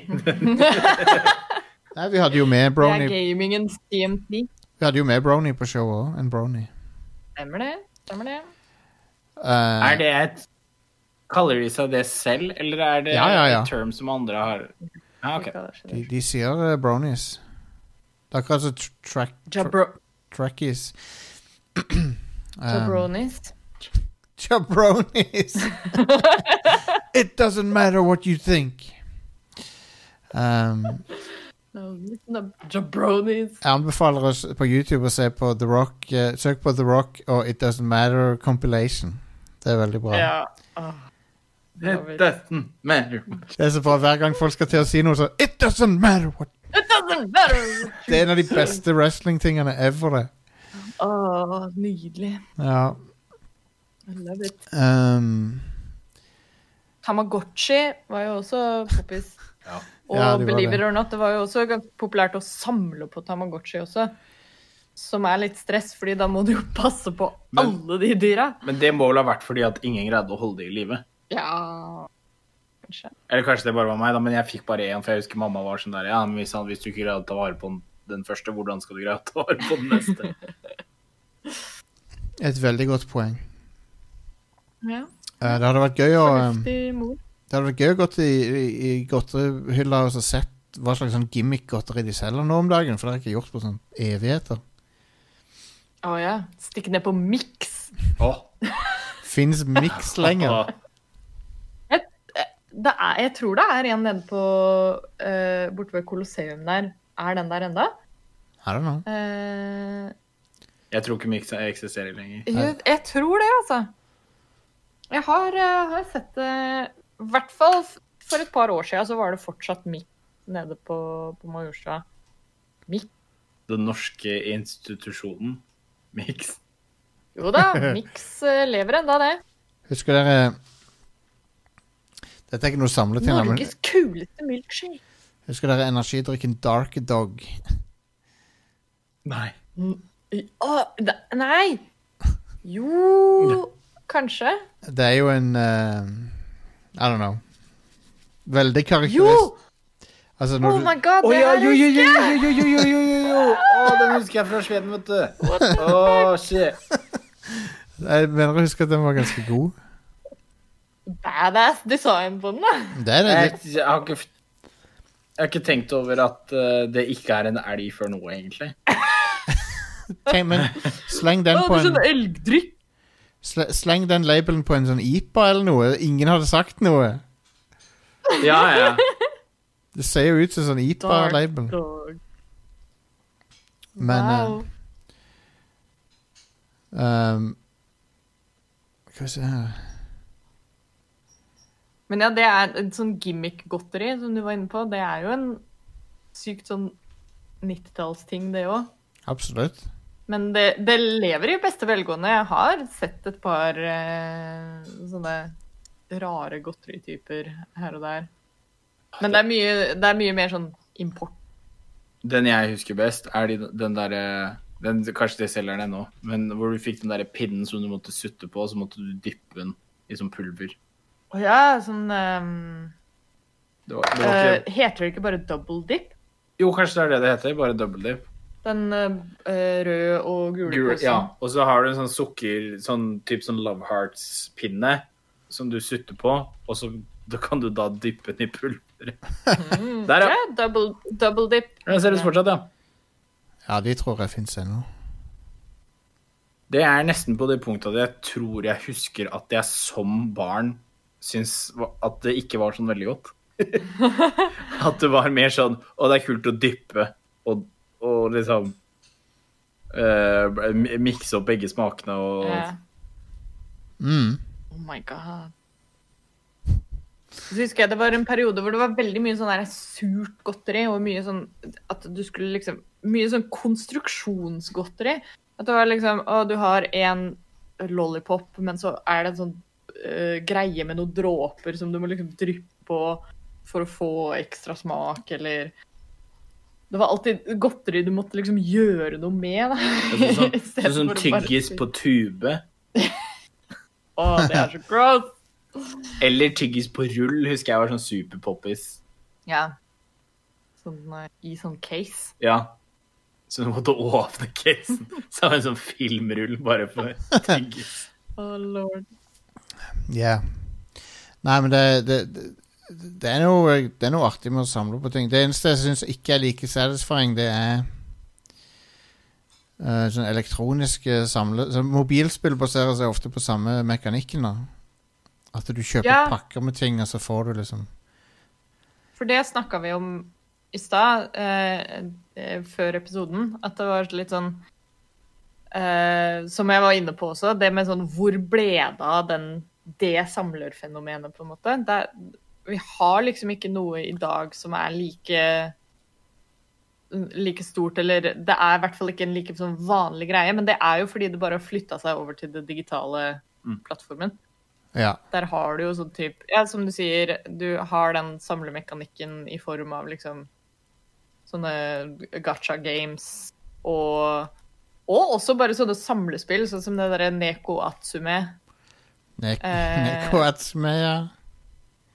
S2: Nei, vi hadde jo med
S1: Det er
S2: brony,
S1: gamingens TMT.
S2: vi hadde jo med brony på showet òg. En brony.
S1: Stemmer det? Stemmer det?
S2: Eh,
S3: Er det et Kaller de seg det selv, eller er det
S2: Ja, ja, ja.
S3: et term som andre har Ja, ok.
S2: de, de sier eh, bronies. Det er akkurat som tr track, tr
S1: Jabro
S2: trackies. Eh, um,
S1: jabronis.
S2: jabronis. It doesn't matter what you think. Um,
S1: No, listen up, jabronis.
S2: Jeg anbefaler oss på YouTube å se på The Rock. eh, søk på The Rock og It Doesn't Matter compilation. Det er veldig bra.
S1: Ja. åh.
S3: It doesn't matter.
S2: Det er så bra Hver gang folk skal til å si noe, så It doesn't matter what
S1: It doesn't matter!
S2: Det er en av de beste wrestling-tingene ever. det.
S1: Åh, nydelig.
S2: Ja.
S1: I love it.
S2: ehm,
S1: Tamagotchi var jo også poppis.
S3: Ja.
S1: Og
S2: Ja, det var
S1: believe it
S2: det.
S1: or not, det var jo også ganske populært å samle på Tamagotchi også. Som er litt stress, fordi da må du jo passe på
S3: Men-
S1: alle de dyra.
S3: Men det må vel ha vært fordi at ingen greide å holde det i live.
S1: Ja Kanskje.
S3: Eller kanskje det bare var meg, da, men jeg fikk bare én, for jeg husker mamma var sånn der Ja, men hvis, han, hvis du ikke greide å ta vare på den, den første, hvordan skal du greie å ta vare på den neste?
S2: et veldig godt poeng.
S1: Ja.
S2: Eh, det hadde vært gøy å ehm,
S1: Fornuftig mor.
S2: Det hadde vært gøy å gå til i, i godterihylla og så sett hva slags sånn gimmick-godteri de selger nå om dagen, for det har jeg ikke gjort på sånn evigheter.
S1: Å ja. Stikke ned på Mix.
S3: Åh,
S2: Fins Mix lenger?
S3: åh.
S1: det er, jeg tror det er en nede på eh, Borte ved Colosseum der. Er den der enda?
S2: I don't know.
S1: Eh,
S3: Jeg tror ikke Mix eksisterer lenger.
S1: jeg, jeg tror det, altså. Jeg har, eh, har sett det I hvert fall f- for et par år siden så var det fortsatt midt nede på, på Majorstua. Midt?
S3: Den norske institusjonen Mix.
S1: Jo da, Mix eh, lever enda det.
S2: Husker dere Dette er ikke noe samleting, da, men
S1: Norges kuleste milkshake.
S2: husker dere energidrikken Dark Dog?
S3: Nei.
S1: Å, det, nei! Jo Kanskje.
S2: Det er jo en eh, I don't know. Veldig
S1: Jo!
S2: karakterist. Altså,
S1: Oh
S2: når du
S1: my god,
S3: Å
S1: det
S3: ja,
S1: er
S3: jo, jo, jo, jo, jo, jo, jo, jo, jo, jo. Å, den husker jeg fra Sveden, vet du. Å, shit.
S2: Jeg mener å huske at den var ganske god.
S1: badass design på den, da.
S2: Det er
S1: Eh.
S2: det.
S3: Jeg, jeg, har ikke, jeg har ikke tenkt over at eh, det ikke er en elg før nå, egentlig.
S2: Tenk, men sleng den
S1: Å,
S2: på
S1: det er
S2: en
S1: sånn elgdrikk.
S2: sle, Sleng den labelen på en sånn IPA eller noe. Ingen hadde sagt noe.
S3: Ja, ja.
S2: Det ser jo ut som sånn IPA-label.
S1: dog.
S2: Men
S1: wow.
S2: eh, ehm, Skal vi se her
S1: Men ja, det er et sånn gimmick-godteri som du var inne på. Det er jo en sykt sånn 90-tallsting, det òg.
S2: Absolutt.
S1: Men det, det lever i beste velgående. Jeg har sett et par eh, sånne rare godterityper her og der. Men det er mye, det er mye mer sånn import.
S3: Den jeg husker best, er de, den derre den, Kanskje de selger den ennå, men hvor du fikk den derre pinnen som du måtte sutte på, og så måtte du dyppe den i sånn pulver.
S1: Å ja, sånn ehm,
S3: Det var, det var ikke,
S1: eh, Heter det ikke bare double dip?
S3: jo, kanskje det er det det heter, bare double dip.
S1: Den eh, røde og gule
S3: Gul,
S1: posen.
S3: ja. Og så har du en sånn sukker, sånn type sånn Love Hearts-pinne som du sutter på, og så da kan du da dyppe den i pulveret. Der, ja.
S1: Ja, double, double dip.
S3: Den selges fortsatt, ja.
S2: Ja, de tror jeg fins ennå.
S3: Det er nesten på det punktet at jeg tror jeg husker at jeg som barn syns at det ikke var sånn veldig godt. at det var mer sånn Å, det er kult å dyppe og, og liksom eh, Mikse opp begge smakene og
S1: Ja.
S2: Mm.
S1: Oh my god. Så husker jeg det var en periode hvor det var veldig mye sånn der surt godteri, og mye sånn at du skulle liksom Mye sånn konstruksjonsgodteri. At det var liksom Å, du har en lollipop, men så er det en sånn eh, greie med noen dråper som du må liksom dryppe på for å få ekstra smak, eller Det var alltid godteri du måtte liksom gjøre noe med. Da.
S3: Altså,
S1: I
S3: Sånn,
S1: stedet
S3: sånn, sånn
S1: for å bare
S3: tyggis
S1: spise.
S3: på tube.
S1: Å, det er så gross!
S3: Eller tyggis på rull, husker jeg var sånn superpoppis.
S1: Ja. Sånn, eh, I sånn case.
S3: Ja. Så du måtte åpne casen. Så har vi en sånn filmrull bare for tyggis.
S1: Oh, lord.
S2: Ja. Nei, men det, det, det, det, er noe, det er noe artig med å samle på ting. Det eneste jeg syns ikke er like satisfying, det er eh, sånne elektroniske samle... Så mobilspill baserer seg ofte på samme mekanikken. da At du kjøper
S1: Ja.
S2: pakker med ting, og så får du liksom
S1: For det snakka vi om i stad, eh, eh, før episoden, at det var litt sånn eh, Som jeg var inne på også, det med sånn Hvor ble det av den- det samlerfenomenet, på en måte? Det, er- vi har liksom ikke noe i dag som er like like stort, eller det er i hvert fall ikke en like sånn vanlig greie, men det er jo fordi det bare har flytta seg over til det digitale plattformen.
S2: Ja.
S1: Der har du jo sånn type Ja, som du sier, du har den samlemekanikken i form av liksom sånne gacha games og og også bare sånne samlespill, sånn som det derre Neko Atsume.
S2: Nek
S1: Eh.
S2: Neko Atsume, ja.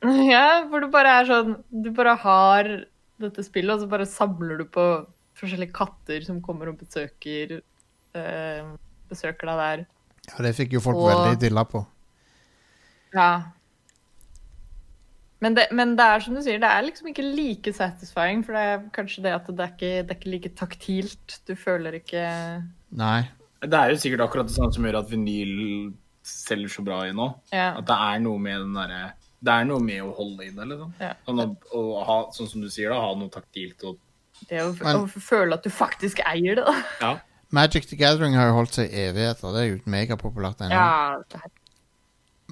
S1: Ja, hvor du bare er sånn Du bare har dette spillet, og så bare samler du på forskjellige katter som kommer og besøker eh, Besøker deg der.
S2: ja. Det fikk jo folk
S1: Og-
S2: veldig dilla på.
S1: Ja. Men det, men det er som du sier, det er liksom ikke like satisfying, for det er kanskje det at det er ikke, det er ikke like taktilt. Du føler ikke
S2: Nei.
S3: Det er jo sikkert akkurat det samme som gjør at vinyl selger så bra i nå.
S1: Ja.
S3: At det er noe med den derre Det er noe med å holde i det, liksom.
S1: Ja.
S3: Sånn, å, å ha, sånn som du sier, da, ha noe taktilt og
S1: Det å,
S2: Men-
S1: å føle at du faktisk eier det, da.
S3: Ja.
S2: Magic the Gathering har jo holdt seg i evigheter. Det er jo megapopulært ennå.
S1: Ja, det er-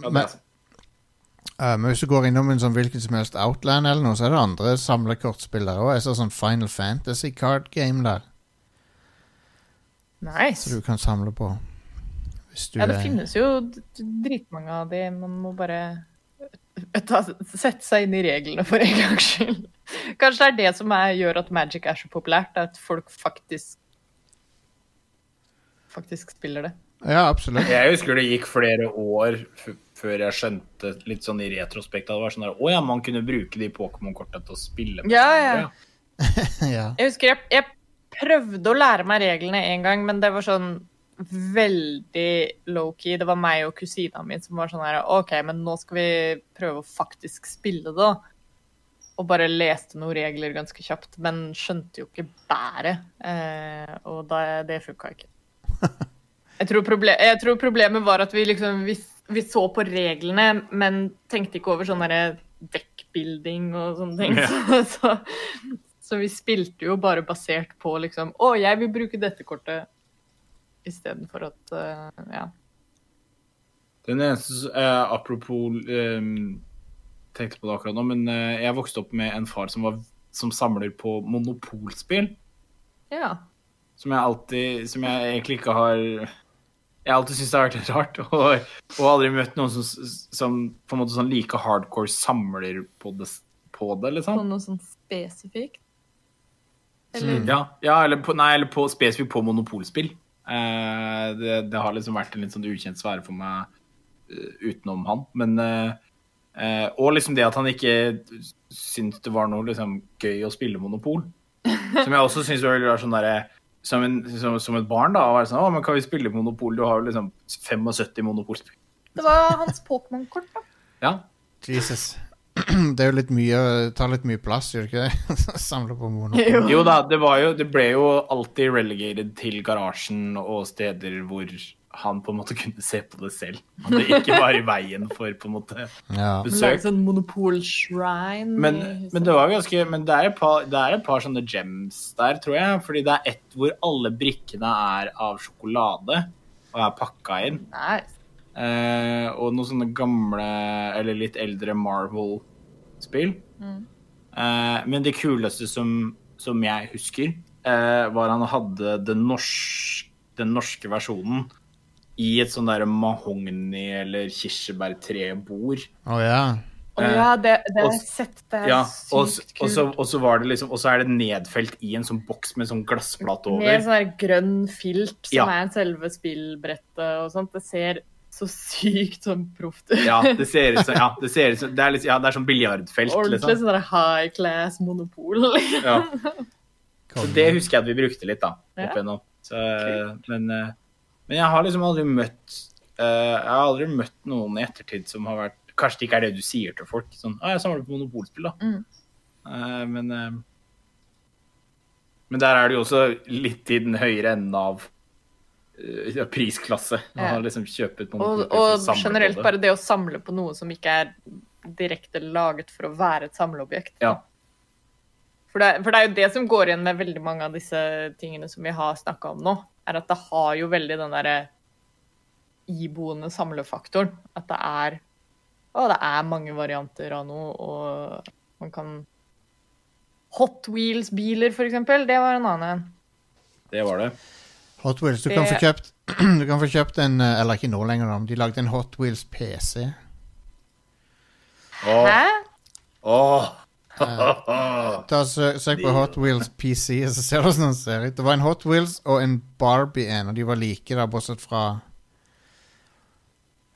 S3: ja det
S2: Men-
S3: er sant.
S2: Eh, men hvis du går innom en sånn hvilken som helst Outland eller noe, så er det andre samlekortspillere òg. Jeg ser sånn Final Fantasy Card Game der,
S1: nice.
S2: så du kan samle på. Hvis du
S1: Ja, det
S2: er-
S1: finnes jo d- d- dritmange av de. Man må bare ta, sette seg inn i reglene for en gangs skyld. Kanskje det er det som er, gjør at Magic er så populært, at folk faktisk faktisk spiller det.
S2: Ja, absolutt.
S3: Jeg husker det gikk flere år f før jeg skjønte litt sånn i retrospekt at det var sånn der Å ja, man kunne bruke de Pokémon-korta til å spille med
S1: Ja,
S3: hverandre,
S1: ja.
S2: ja.
S1: Jeg husker jeg, jeg prøvde å lære meg reglene en gang, men det var sånn veldig low-key. Det var meg og kusina mi som var sånn her OK, men nå skal vi prøve å faktisk spille det, da. Og bare leste noen regler ganske kjapt, men skjønte jo ikke bæret. Eh, og da, det funka ikke. Jeg tror, proble jeg tror problemet var at vi liksom vi, vi så på reglene, men tenkte ikke over sånn derre dekkbuilding og sånne ting. Så, så, så vi spilte jo bare basert på liksom Å, jeg vil bruke dette kortet istedenfor at eh, Ja.
S3: Den eneste s- eh, Apropos eh, Tenkte på det akkurat nå, men eh, jeg vokste opp med en far som, var, som samler på monopolspill.
S1: ja.
S3: Som jeg alltid Som jeg egentlig ikke har Jeg har alltid syntes det har vært litt rart, og, og aldri møtt noen som, s- som på en måte sånn like hardcore samler på det, s- på det
S1: På
S3: liksom.
S1: noe sånn spesifikt. Eller
S3: Ja, ja eller, på, nei, eller på, spesifikt på monopolspill. Eh, det, det har liksom vært en litt sånn ukjent sfære for meg eh, utenom han. Men, eh, eh, og liksom det at han ikke syntes det var noe liksom, gøy å spille monopol. Som jeg også syns var veldig rart. Sånn derre- som, en, som, som et barn, da. å Være sånn, å, men kan vi spille monopol? Du har jo liksom 75 monopolspill.
S1: Det var hans Pokémon-kort, da.
S3: Ja,
S2: Jesus. Det er jo litt mye tar litt mye plass, gjør det ikke det? Samle på mono.
S1: Jo.
S3: Jo da, det, var jo, det ble jo alltid relegated til garasjen og steder hvor han på en måte kunne se på det selv. At det ikke var i veien for på en måte
S2: Ja.
S1: Lage
S3: besøk.
S1: sånn monopolshrine.
S3: Men,
S1: i huset.
S3: men det var jo ganske Men det er, et par, det er et par sånne gems der, tror jeg. Fordi det er ett hvor alle brikkene er av sjokolade og er pakka inn.
S1: Nice.
S3: Eh, og noen sånne gamle, eller litt eldre Marvel-spill.
S1: Mm.
S3: Eh, men det kuleste som, som jeg husker, eh, var han hadde den, norsk, den norske versjonen i et sånn der mahogni- eller kirsebærtre-bord.
S2: Å ja.
S1: Å ja, det, det har
S3: Eh, og-
S1: jeg sett. Det er
S3: Ja, og, s-
S1: sykt
S3: og,
S1: kult.
S3: så, og så var det liksom Og så er det nedfelt i en sånn boks med sånn glassplate
S1: Med
S3: over.
S1: sånn her grønn filt som
S3: Ja.
S1: er selve spillbrettet og sånt. Det ser så sykt sånn proft ut.
S3: Ja, det ser ut som ja, det, ser ut som, det, er litt, ja, det er sånn biljardfelt,
S1: Ordentlig
S3: liksom.
S1: sånn der high class monopol. liksom.
S3: Ja. Så
S2: Kom.
S3: det husker jeg at vi brukte litt, da.
S1: Ja.
S3: Opp igjennom. Så, men, eh, men jeg har liksom aldri møtt eh, Jeg har aldri møtt noen i ettertid som har vært Kanskje det ikke er det du sier til folk. Sånn 'Å, jeg samler på monopolspill', da.
S1: Mm.
S3: Eh, men eh, Men der er det jo også litt i den høyere enden av eh, ja, prisklasse. Man
S1: Ja.
S3: har liksom kjøpet
S1: Og,
S3: monopolspill for å
S1: og
S3: samle på
S1: generelt
S3: det.
S1: bare det å samle på noe som ikke er direkte laget for å være et samleobjekt.
S3: ja.
S1: For det, for det er jo det som går igjen med veldig mange av disse tingene som vi har snakka om nå, er at det har jo veldig den derre iboende samlefaktoren. At det er Å, det er mange varianter av noe, og man kan Hot Wheels-biler, for eksempel, det var en annen en.
S3: Det var det.
S2: Hot Wheels. Du kan,
S1: Det-
S2: få kjøpt, du kan få kjøpt en eh, Eller ikke nå lenger, da, men de lagde en Hot Wheels PC.
S3: Åh,
S1: Hæ?
S3: åh.
S2: Ta og søk, søk på Hot Wheels PC, og så ser du hvordan den ser ut. Det var en Hot Wheels og en Barbie en, og de var like, da, bortsett fra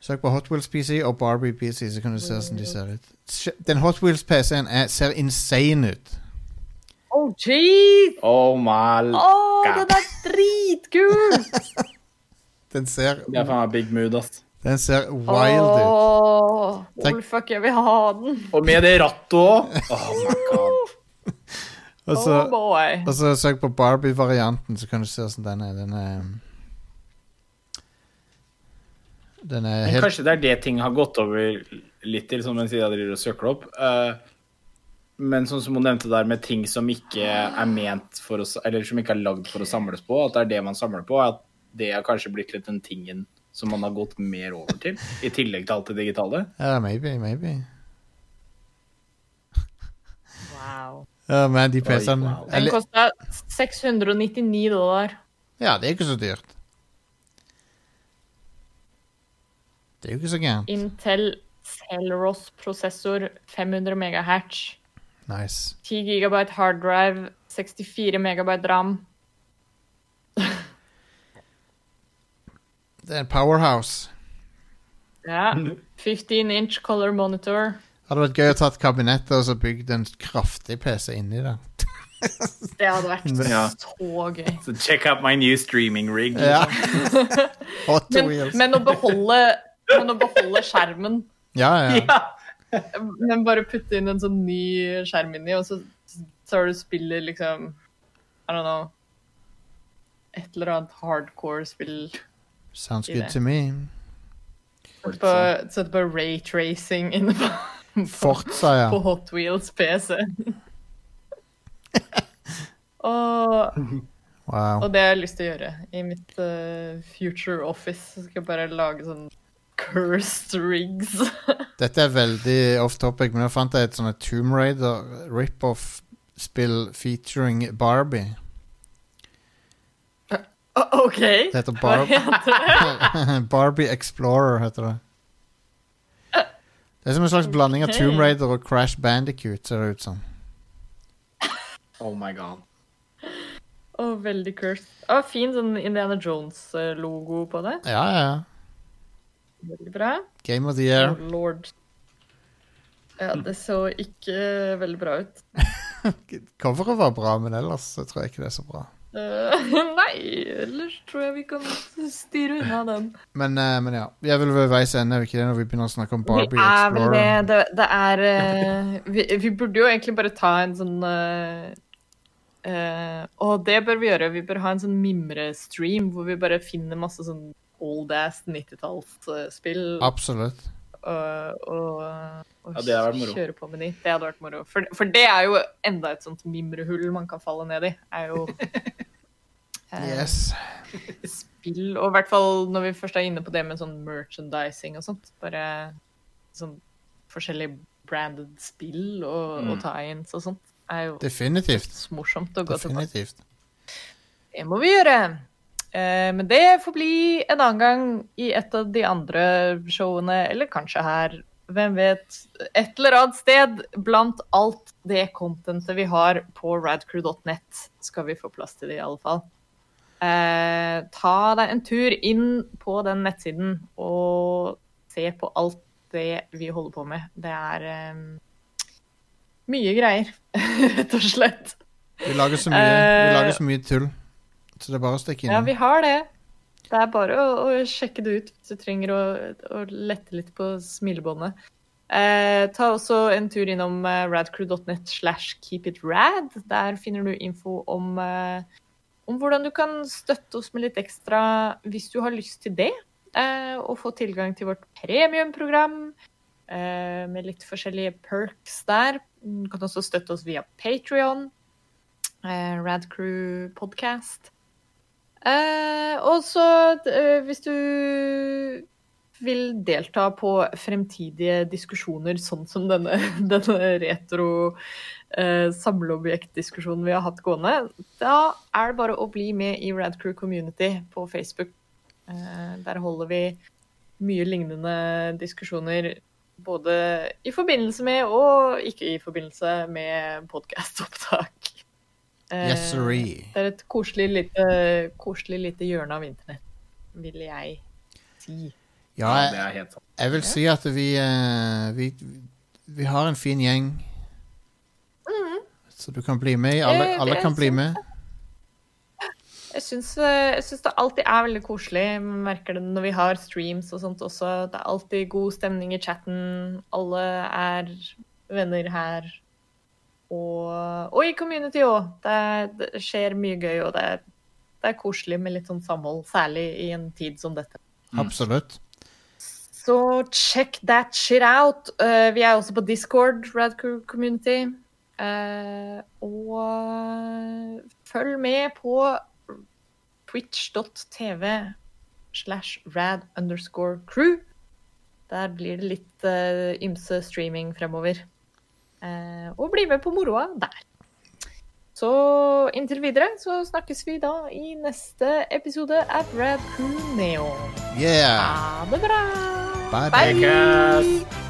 S2: Søk på Hot Wheels PC og Barbie PC, så kan du se hvordan de ser ut. Sj- Den Hot Wheels PC-en er- ser insane ut.
S1: Oh, jeez!
S3: Oh my
S1: Å, den er dritkul!
S2: Den ser,
S3: Det er faen meg big mood, ass.
S2: den ser wild ut.
S1: Åh,
S2: Takk.
S1: oh, fuck, jeg vil ha den.
S3: Og med det rattet òg. Oh my god.
S2: Og
S1: Oh
S2: så,
S1: boy.
S2: og så Altså- søk på Barbie-varianten, så kan du se hvordan den er. Den er, den er
S3: Men
S2: helt
S3: kanskje det er det ting har gått over litt til, som mens jeg driver og søker det opp. Eh, men sånn som hun nevnte der, med ting som ikke er ment for å s- Eller som ikke er lagd for å samles på, at det er det man samler på, at det har kanskje blitt litt den tingen som man har gått mer over til, i tillegg til alt det digitale.
S2: Ja, maybe, maybe.
S1: Wow.
S2: Ja, men de
S3: Oi,
S2: PC-ene
S3: wow.
S1: Den
S2: eller-
S1: kosta 699 dollar.
S2: Ja, det er ikke så dyrt. Det er jo ikke så gærent.
S1: Intel Celros-prosessor, 500 megahertz.
S2: Nice.
S1: 10 gigabyte hard drive, 64 megabyte ram.
S2: Det er en powerhouse.
S1: Ja. 15 inch color monitor.
S2: Hadde vært gøy å ta et kabinett og så bygd en kraftig PC inni det.
S1: Det hadde
S2: Mm.
S1: vært
S3: Ja.
S1: så gøy.
S3: So check out my new streaming rig.
S2: Ja. Hot
S1: Men,
S2: wheels.
S1: men, å beholde, men å beholde skjermen,
S2: ja, ja.
S1: men bare putte inn en sånn ny skjerm inni, og så tar du spiller liksom I don't know Et eller annet hardcore spill.
S2: Sounds
S1: i
S2: good
S1: det.
S2: to me.
S1: Sett på, sett på raytracing inne på, på,
S2: Forza, ja.
S1: på Hot Wheels PC. og
S2: Wow.
S1: Og det har jeg lyst til å gjøre. I mitt eh, future office så skal jeg bare lage sånn cursed rigs.
S2: Dette er veldig off topic, men jeg fant jeg et sånt Tomb Raider rip-off-spill featuring Barbie.
S1: O- OK.
S2: Det heter
S1: Hva
S2: Barb
S1: heter det?
S2: Barbie Explorer, heter det. Det er som en slags blanding av
S1: Ok.
S2: Tomb Raider og Crash Bandicoot, ser det ut som.
S3: Oh my god.
S1: Å, veldig cursed. Å, fin sånn Indiana Jones-logo på det.
S2: Ja, ja, ja.
S1: Veldig bra.
S2: Game of the year.
S1: Oh, Lord. Ja, det så ikke veldig bra ut.
S2: Coveret var bra, men ellers så tror jeg ikke det er så bra.
S1: Eh, nei, ellers tror jeg vi kan styre unna den.
S2: Men, eh, men ja. Vi er vel ved veis ende, er vi ikke det, når vi begynner å snakke om Barbie
S1: vi er vel det.
S2: Explorer?
S1: Det, det er eh, vi, vi burde jo egentlig bare ta en sånn eh, eh, Og det bør vi gjøre. Vi bør ha en sånn mimrestream hvor vi bare finner masse sånn old-ass 90-tallsspill
S2: Absolutt.
S1: og, og, og
S3: Ja, det hadde vært moro.
S1: kjøre på med de. Det hadde vært moro. For, for det er jo enda et sånt mimrehull man kan falle ned i. er jo eh,
S2: Yes.
S1: spill, og i hvert fall når vi først er inne på det med sånn merchandising og sånt, bare sånn forskjellige branded spill og,
S3: Mm.
S1: og tie-ins og sånt, er jo
S2: Definitivt.
S1: så morsomt å gå tilbake.
S2: Definitivt.
S1: Det må vi gjøre. Eh, men det får bli en annen gang i et av de andre showene, eller kanskje her, hvem vet, et eller annet sted blant alt det contentet vi har på radcrew.net, skal vi få plass til det i alle fall. Eh, ta deg en tur inn på den nettsiden og se på alt det vi holder på med. Det er eh, mye greier, rett og slett.
S2: Vi lager så mye, vi
S1: Eh,
S2: lager så mye tull. Så det er bare å stikke
S1: Ja,
S2: innom.
S1: vi har det. Det er bare å, å sjekke det ut hvis du trenger å, å lette litt på smilebåndet. Eh, ta også en tur innom eh, radcrew.net slash keepitrad. Der finner du info om, eh, om hvordan du kan støtte oss med litt ekstra hvis du har lyst til det. Eh, og få tilgang til vårt premiumprogram eh, med litt forskjellige perks der. Du kan også støtte oss via Patrion, eh, Radcrew podcast. Eh, og så eh, hvis du vil delta på fremtidige diskusjoner, sånn som denne, denne retro eh, samleobjektdiskusjonen vi har hatt gående, da er det bare å bli med i Radcrew Community på Facebook. Eh, der holder vi mye lignende diskusjoner både i forbindelse med og ikke i forbindelse med podkastopptak.
S2: Yes, sirree.
S1: Det er et koselig lite, koselig lite hjørne av internett, vil jeg si.
S2: Ja,
S3: Ja, det
S2: jeg,
S3: er helt sant.
S2: jeg vil si at vi, eh, vi Vi har en fin gjeng. Så du kan bli med. Alle,
S1: Det-
S2: alle
S1: det
S2: kan bli
S1: syns
S2: med.
S1: Jeg syns, eh, jeg syns det alltid er veldig koselig. Jeg merker det når vi har streams og sånt også. Det er alltid god stemning i chatten. Alle er venner her. Og, og i community òg. Det, er- det skjer mye gøy, og det er, det er koselig med litt sånn samhold. Særlig i en tid som dette.
S2: Absolutt.
S1: Så check that shit out. Eh, vi er også på Discord, Radcrew Community. Eh, og følg med på twitch.tv slash rad underscore crew. Der blir det litt eh, ymse streaming fremover. Eh, og bli med på moroa der. Så inntil videre så snakkes vi da i neste episode av Rad Crew Neo.
S2: Yeah.
S1: Ha det bra!
S2: Bye,
S3: Bye, guys.